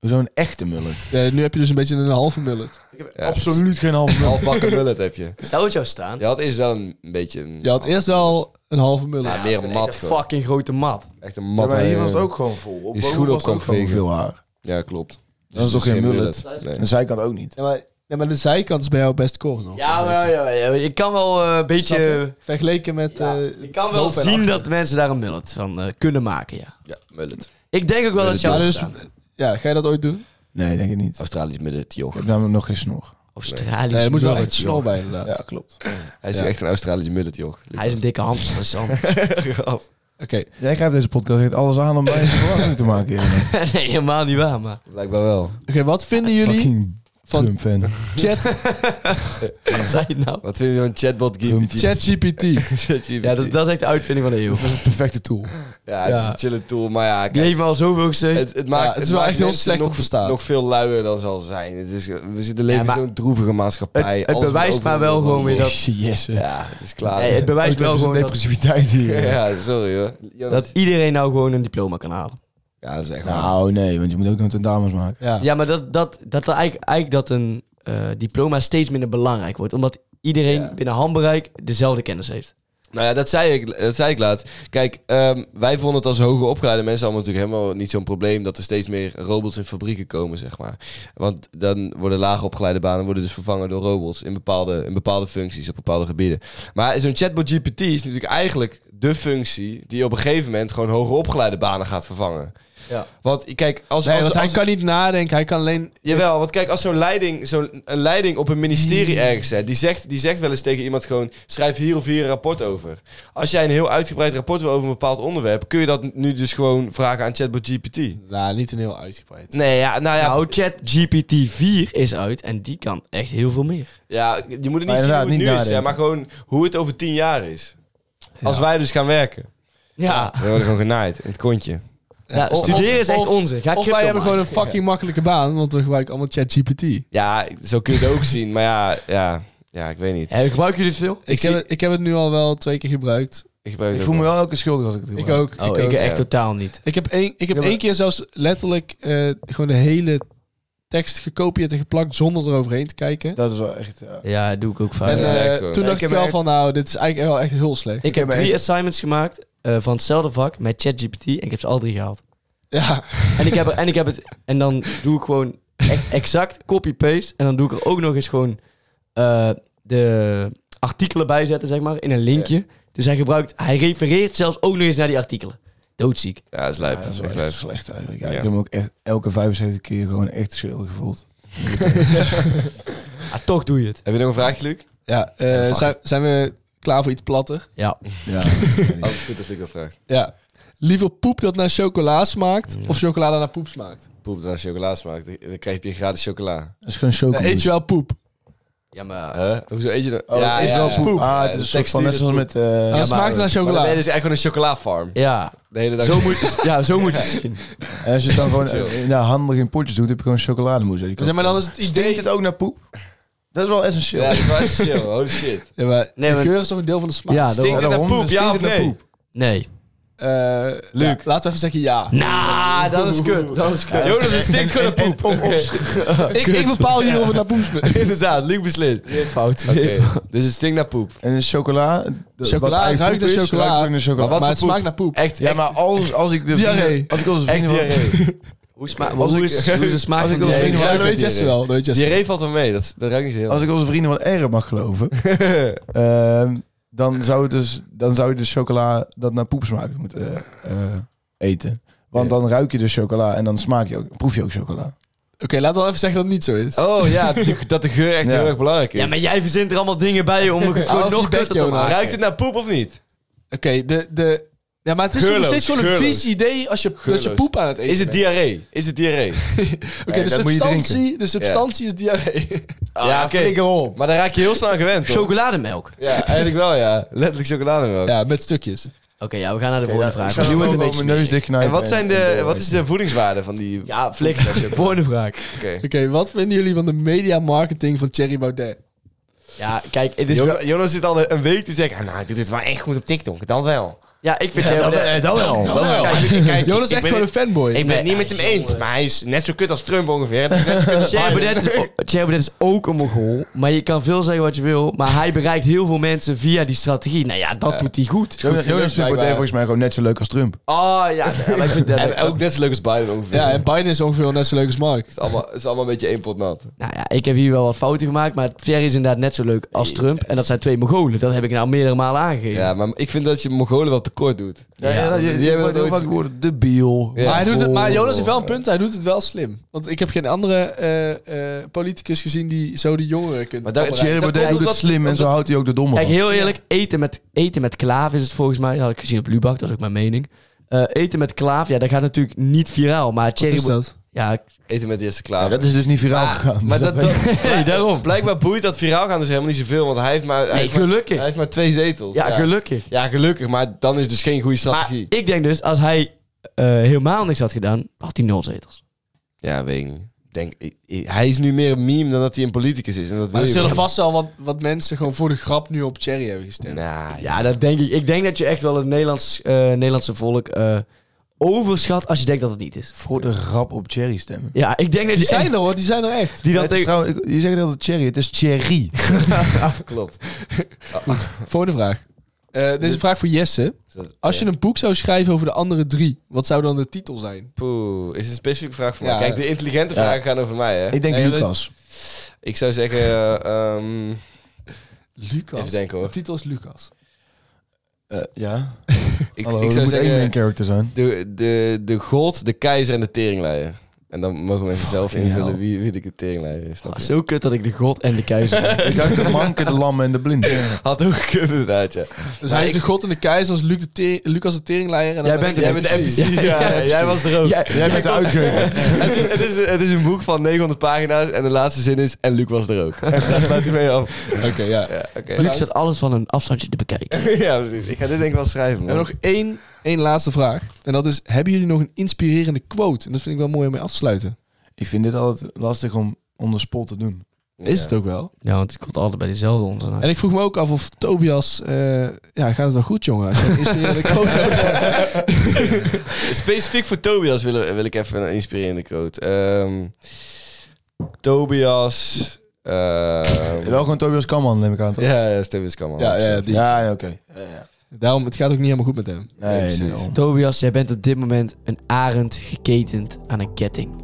Zo'n echte mullet.
Ja, nu heb je dus een beetje een halve mullet.
Ja,
Absoluut geen halve mullet.
Halfbakken mullet heb je.
Zou het jou staan?
Je had eerst wel een beetje... Een,
Je had eerst al een halve mullet.
Ja,
Ja,
meer
dat is
een
echt
mat
een
gewoon.
fucking grote mat.
Echt een mat. waar je-
gewoon vol. Op
Die schoenen boven was op het ook kan gewoon vegen.
veel haar.
Ja, klopt. Dus
Dat is toch geen mullet?
Nee.
Aan de zijkant ook niet.
Ja, maar, ja, maar de zijkant is bij jou best kort nog.
Ja, maar ja, ja, je kan wel eh, een
Snap je?
beetje...
Vergeleken met...
Ja,
eh,
je kan wel
boven en
zien
achter.
dat mensen daar een mullet van eh, kunnen maken, ja.
Ja, mullet.
Ik denk ook wel dat
Mullet,
jou
Ja,
ja,
dus, ja, ga je dat ooit doen?
Nee, denk ik niet. Ik
Australisch mullet, joh.
heb namelijk nog geen snor.
Australisch
Nee, er moet wel
mullet,
echt snor
joh.
bij inderdaad.
Ja, klopt.
Hij is
Ja.
echt een Australisch mullet, joh.
Hij is een dikke hamster, dat is anders.
Oké,
Jij krijgt deze podcast echt alles aan om mij een verwachting te maken. jongen.
nee, helemaal niet waar, maar...
Blijkbaar wel.
Oké, wat vinden jullie
Fucking
van-
Trump-fan.
chat-
Wat zei je nou?
Wat vind je van chatbot
Trump.
GPT?
ChatGPT?
Ja, dat, dat is echt de uitvinding van de eeuw.
Perfecte tool.
Ja, het is een chille tool, maar ja,
Die
kijk,
heeft me al zoveel gezegd.
het, het maakt
Ja, het is wel
maakt
echt heel
mensen
slecht
nog,
op verstaan.
Nog veel luier dan zal zijn. Het is, we zitten leven
Ja, maar-
in zo'n droevige maatschappij.
Het- het
Alles
bewijst
wordt
maar wel
overal
gewoon weer dat-
Yes. eh.
Ja, het is klaar.
Nee, het bewijst wel gewoon dat,
Depressiviteit hier.
Ja, sorry hoor.
dat
Jonas.
iedereen nou gewoon een diploma kan halen.
Ja, dat is echt waar.
Nou, nee, want je moet ook nog tentamens maken.
Ja.
Ja, maar dat, dat, dat er eigenlijk, eigenlijk dat een eh, diploma steeds minder belangrijk wordt. Omdat iedereen
Ja.
binnen handbereik dezelfde kennis heeft.
Nou ja, dat zei ik, dat zei ik laatst. Kijk, ehm, wij vonden het als hoger opgeleide mensen allemaal natuurlijk helemaal niet zo'n probleem dat er steeds meer robots in fabrieken komen, zeg maar. Want dan worden lager opgeleide banen worden dus vervangen door robots in bepaalde, in bepaalde functies, op bepaalde gebieden. Maar zo'n chatbot GPT is natuurlijk eigenlijk de functie die op een gegeven moment gewoon hoger opgeleide banen gaat vervangen.
Ja.
Want kijk, als,
Nee,
als,
want
als,
hij kan niet nadenken, hij kan alleen...
Jawel, want kijk, als zo'n leiding, zo'n een leiding op een ministerie ergens zet, die zegt, die zegt wel eens tegen iemand gewoon, schrijf hier of hier een rapport over. Als jij een heel uitgebreid rapport wil over een bepaald onderwerp, kun je dat nu dus gewoon vragen aan ChatBot GPT.
Nou, niet een heel uitgebreid.
Nee, ja, nou ja,
Nou, chat GPT-4 is uit en die kan echt heel veel meer.
ja je moet het niet
Maar
zien hoe
inderdaad,
het
niet
nu is, hè,
nadenken.
maar gewoon hoe het over tien jaar is. Als wij dus gaan werken.
Ja,
Dan worden we gewoon genaaid, in het kontje.
ja. studeren is echt
of-
onzin. Ga
Of
crypto
wij hebben
maken.
gewoon een fucking makkelijke baan, want we gebruiken allemaal ChatGPT.
Ja, zo kun je het ook zien, maar ja, ja, ja, ik weet niet.
Ja, gebruiken jullie het veel?
Ik,
zie-
heb het, ik heb het nu al wel twee keer gebruikt.
Ik, gebruik
Ik
het
voel
ook
me
wel.
wel elke keer schuldig als ik het
Ik
gebruik.
ook.
Oh,
ik,
ik,
ook.
echt
Ja.
totaal niet.
ik heb, één, ik heb
Ja, maar-
één keer zelfs letterlijk eh, gewoon de hele tekst gekopieerd en geplakt zonder eroverheen te kijken.
Dat is wel echt... ja.
Ah, Ja, dat doe ik ook vaak.
En
ja,
eh,
echt gewoon.
toen dacht
Nee, ik
ik
heb
wel
echt-
van, nou, dit is eigenlijk wel echt heel slecht.
ik heb
heb
drie
echt-
assignments gemaakt eh, van hetzelfde vak met ChatGPT en ik heb ze al drie gehaald.
ja.
En ik heb, er- en ik heb het. En dan doe ik gewoon echt exact copy-paste. En dan doe ik er ook nog eens gewoon eh, de artikelen bij zetten, zeg maar, in een linkje. Dus hij gebruikt, hij refereert zelfs ook nog eens naar die artikelen. Doodziek.
Ja, dat is lijp.
Ja, dat is
echt
wel
lijp.
echt slecht eigenlijk. Ja,
Ja.
Ik heb me ook echt elke 75 keer gewoon echt schuldig gevoeld.
Maar toch doe je het.
Heb je nog een vraagje, Luc? Oh,
ja eh, zijn, zijn we klaar voor iets platter?
Ja.
Ja.
Alles goed als Luc dat vraagt.
Ja. Liever poep dat naar chocola smaakt, of chocolade naar poep smaakt?
poep dan chocola smaakt, dan krijg je gratis chocola.
dat is gewoon
Dan eet je
chocomousse.
wel poep.
Ja, maar...
Huh? Hoezo eet je dat?
Oh, het is wel poep. Ah, het is een soort van net zoals met... eh,
Dat smaakt naar
Maar dan ben je
chocola.
dus echt gewoon een chocolafarm.
Ja,
De hele dag.
zo moet, ja, zo moet je het zien.
En als je het dan gewoon eh, nou, handig in potjes doet, heb je gewoon chocolademousse. Die kan-
Zeg maar, dan is het idee...
Stinkt het ook naar poep? Ah, Dat is wel essentieel.
Ja, dat was chill. Holy shit.
Ja, maar
Nee,
de
maar-
geur is toch een deel van de smaak?
Ja, dat-
Stinkt het naar
daarom,
poep, ja
stinkt
of
het naar
nee?
poep.
Nee.
Eh,
Luc.
ja, laten we even zeggen ja.
Nou, dat is kut. Dat is kut.
Jonas, het stinkt gewoon naar poep.
ik, ik bepaal hier of het naar poep smaakt.
Inderdaad, Luc beslist.
Fout.
Oké, Dus het stinkt naar poep.
En de chocola... de-
Chocola
wat eigenlijk
ruikt
poep
naar
is,
chocola.
ruikt ook naar chocola.
Maar
voor
het
poep?
smaakt naar poep.
Echt,
Ja, maar als, als ik de
Diarree.
vrienden... Als ik onze
echt
vrienden...
diarree.
Hoe, sma
Als
hoe
ik-
is, hoe is de smaak
als
van
ik wil
die- Nee,
weten-
Ja,
ruikt
dat weet
het
Jesse
diarree.
wel. Dat weet Jesse wel.
Diarree valt wel mee, dat, dat ruikt niet zo heel
Als ik onze vrienden wat erger mag geloven... ehm, dan, zou het dus, dan zou je dus chocola dat naar poep smaakt moeten eh, eh, eten. Want dan ruik je dus chocola en dan smaak je ook, proef je ook chocola.
Oké, laten we wel even zeggen dat het niet zo is.
Oh ja, die- dat de geur echt
Ja.
heel erg belangrijk is.
Ja, maar jij verzint er allemaal dingen bij om het gewoon
Hou
nog
je bek,
kutter te
Jonas.
maken.
Ruikt het naar poep of niet?
Oké, de, de... Ja, maar het is toch nog
Geurloos,
steeds gewoon een
geurloos.
vies idee als je, dat je
Geurloos.
poep aan het eten
Is het
bent.
diarree? Is het diarree?
Oké,
Nee,
de,
dat moet je
substantie, de substantie is diarree.
Ah, ja, oké. Maar daar raak je heel snel aan gewend, hoor.
Chocolademelk. Oké,
Ja, eigenlijk wel, ja. Letterlijk chocolademelk.
Ja, met stukjes.
ja, we gaan naar de volgende vraag.
Ik
Nu wordt het een beetje
mijn neus
smerig.
dichtknijpen.
En wat, zijn de, wat is de voedingswaarde van die...
Ja, flikker. volgende vraag.
Oké.
Oké, wat vinden jullie van de media marketing van Thierry Baudet?
Ja, kijk, het is wel-
Jonas, Jonas zit al een week te zeggen, "Ah, nou, ik doe dit wel echt goed op TikTok, dan wel.
Ja, ik vind Thierry Baudet-
dat wel. Dat wel.
Kijk, kijk,
Jonas
ik
is echt
ben
gewoon een
het-
fanboy.
Ik ben het niet
Nee,
met hem eens, maar hij is net zo kut als Trump ongeveer. Hij is net zo kut als
Thierry
Biden.
Baudet is o- Thierry Baudet is ook een mogol, maar je kan veel zeggen wat je wil, maar hij bereikt heel veel mensen via die strategie. Nou ja, dat doet hij goed.
Jonas Jonas vindt Baudet volgens mij gewoon net zo leuk als Trump.
Oh ja, nee, maar ik vind dat-
En ook net zo leuk als Biden ongeveer.
Ja, en Biden is ongeveer net zo leuk als Mark.
Het is allemaal, het is allemaal een beetje één pot nat.
Nou ja, ik heb hier wel wat fouten gemaakt, maar Thierry is inderdaad net zo leuk als Trump. En dat zijn twee Mogolen, dat heb ik nou meerdere malen aangegeven.
Ja, maar ik vind dat je Mongolen wel tekort doet.
Ja, ja, dat- je,
die
je
hebben
hoort heel
het ooit-
vaak worden debiel.
Ja.
maar, hij doet het, maar
goh.
Jonas heeft wel een punt, hij doet het wel slim. Want ik heb geen andere eh, eh, politicus gezien die zo de jongeren kunt
Maar daar-
opruimen.
dat
Thierry Baudet
komt
doet het
omdat-
slim en zo
omdat-
houdt hij ook de domme
Kijk,
van.
heel eerlijk, eten met, eten met klaaf is het volgens mij. Dat had ik gezien op Lubach, dat is ook mijn mening. Eh, eten met klaaf, ja, dat gaat natuurlijk niet viraal. Maar
Wat
Thierry...
is dat?
Ja,
Eten met de eerste
Ja,
klaar.
dat is dus niet viraal gegaan. dus
Ah, maar dat,
weet ik.
nee, daarom. Blijkbaar boeit dat viraal gaan dus helemaal niet zoveel, want hij heeft maar, hij
nee,
heeft maar, hij
gelukkig.
heeft maar twee zetels.
Ja, gelukkig.
Ja, gelukkig, maar dan is het dus geen goede
Maar
strategie.
ik denk dus, als hij eh, helemaal niks had gedaan, had hij nul zetels.
Ja, weet ik niet. Ik Denk, ik- ik- hij is nu meer een meme dan dat hij een politicus is. En dat
Maar
wil
er
je
zullen
wel.
vast wel wat, wat mensen gewoon voor de grap nu op Thierry hebben gestemd.
Nou, ja.
Ja, dat denk ik. Ik denk dat je echt wel het Nederlands, eh, Nederlandse volk eh, overschat als je denkt dat het niet is.
Voor de grap op Cherry stemmen.
Ja, ik denk dat je
Die zijn
echt-
er hoor, die zijn er echt.
die dan
Het is
tegen-
trouwens- je zegt altijd Cherry, het is Cherry.
klopt.
Volgende vraag. Eh, dit is een vraag voor Jesse. Als je een boek zou schrijven over de andere drie, wat zou dan de titel zijn?
Poeh, is een specifieke vraag voor mij.
Ja.
Kijk, de intelligente vragen gaan over mij, hè.
Ik denk
Nee, dat-
Lucas.
Ik zou zeggen... eh, ehm,
Lucas.
Even denken, hoor.
De titel is Lucas.
ja.
ik,
Hallo,
ik
er
zou
moet één
zeggen...
main character zijn.
De, de, de god, de keizer en de teringleier. En dan mogen mensen zelf
Fucking
invullen
hell.
wie, wie de teringleier is. snap
Ah,
je?
zo kut dat ik de god en de keizer ben.
Ik dacht de manke, de lam en de blind.
Had ook gekund inderdaad, ja.
Dus hij is
ik-
de god en de keizer, als Luc de te- Lucas de teringleier. En
Jij
dan
bent
ben
er
ik
Jij
de
bent de
MC.
MC. Ja,
Ja, ja,
jij was er ook.
Jij-
Jij bent de uitgever.
het, het is, het is een boek van 900 pagina's en de laatste zin is... En Luc was er ook. En daar sluit hij mee af.
Oké, ja.
Ja, oké.
Luc staat alles van een afstandje te bekijken.
ja, precies. Ik ga dit denk ik wel schrijven,
En
man.
nog één, één laatste vraag. En dat is, hebben jullie nog een inspirerende quote? En dat vind ik wel mooi om mee af te sluiten.
Ik vind dit altijd lastig om on the spot te doen.
Is
Ja.
het ook wel.
Ja, want het komt altijd bij dezelfde onzin. uit.
En ik vroeg me ook af of Tobias... eh, ja, gaat het wel goed, jongen? Als je een inspirerende quote nodig hebt.
Specifiek voor Tobias wil, wil ik even een inspirerende quote. Ehm, Tobias... ehm,
Wel gewoon Tobias Kamman, neem ik aan. toch?
ja, ja, Tobias kan wel.
Ja, ja, die.
Ja, nee, oké.
Daarom, het gaat ook niet helemaal goed met hem.
Nee,
precies.
nee, daarom.
Tobias, jij bent op dit moment een arend geketend aan een ketting.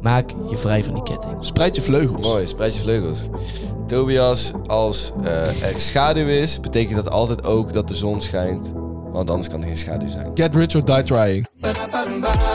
Maak je vrij van die ketting.
Spreid je vleugels.
Mooi, spreid je vleugels. Tobias, als eh, er schaduw is, betekent dat altijd ook dat de zon schijnt. Want anders kan er geen schaduw zijn.
Get rich or die trying.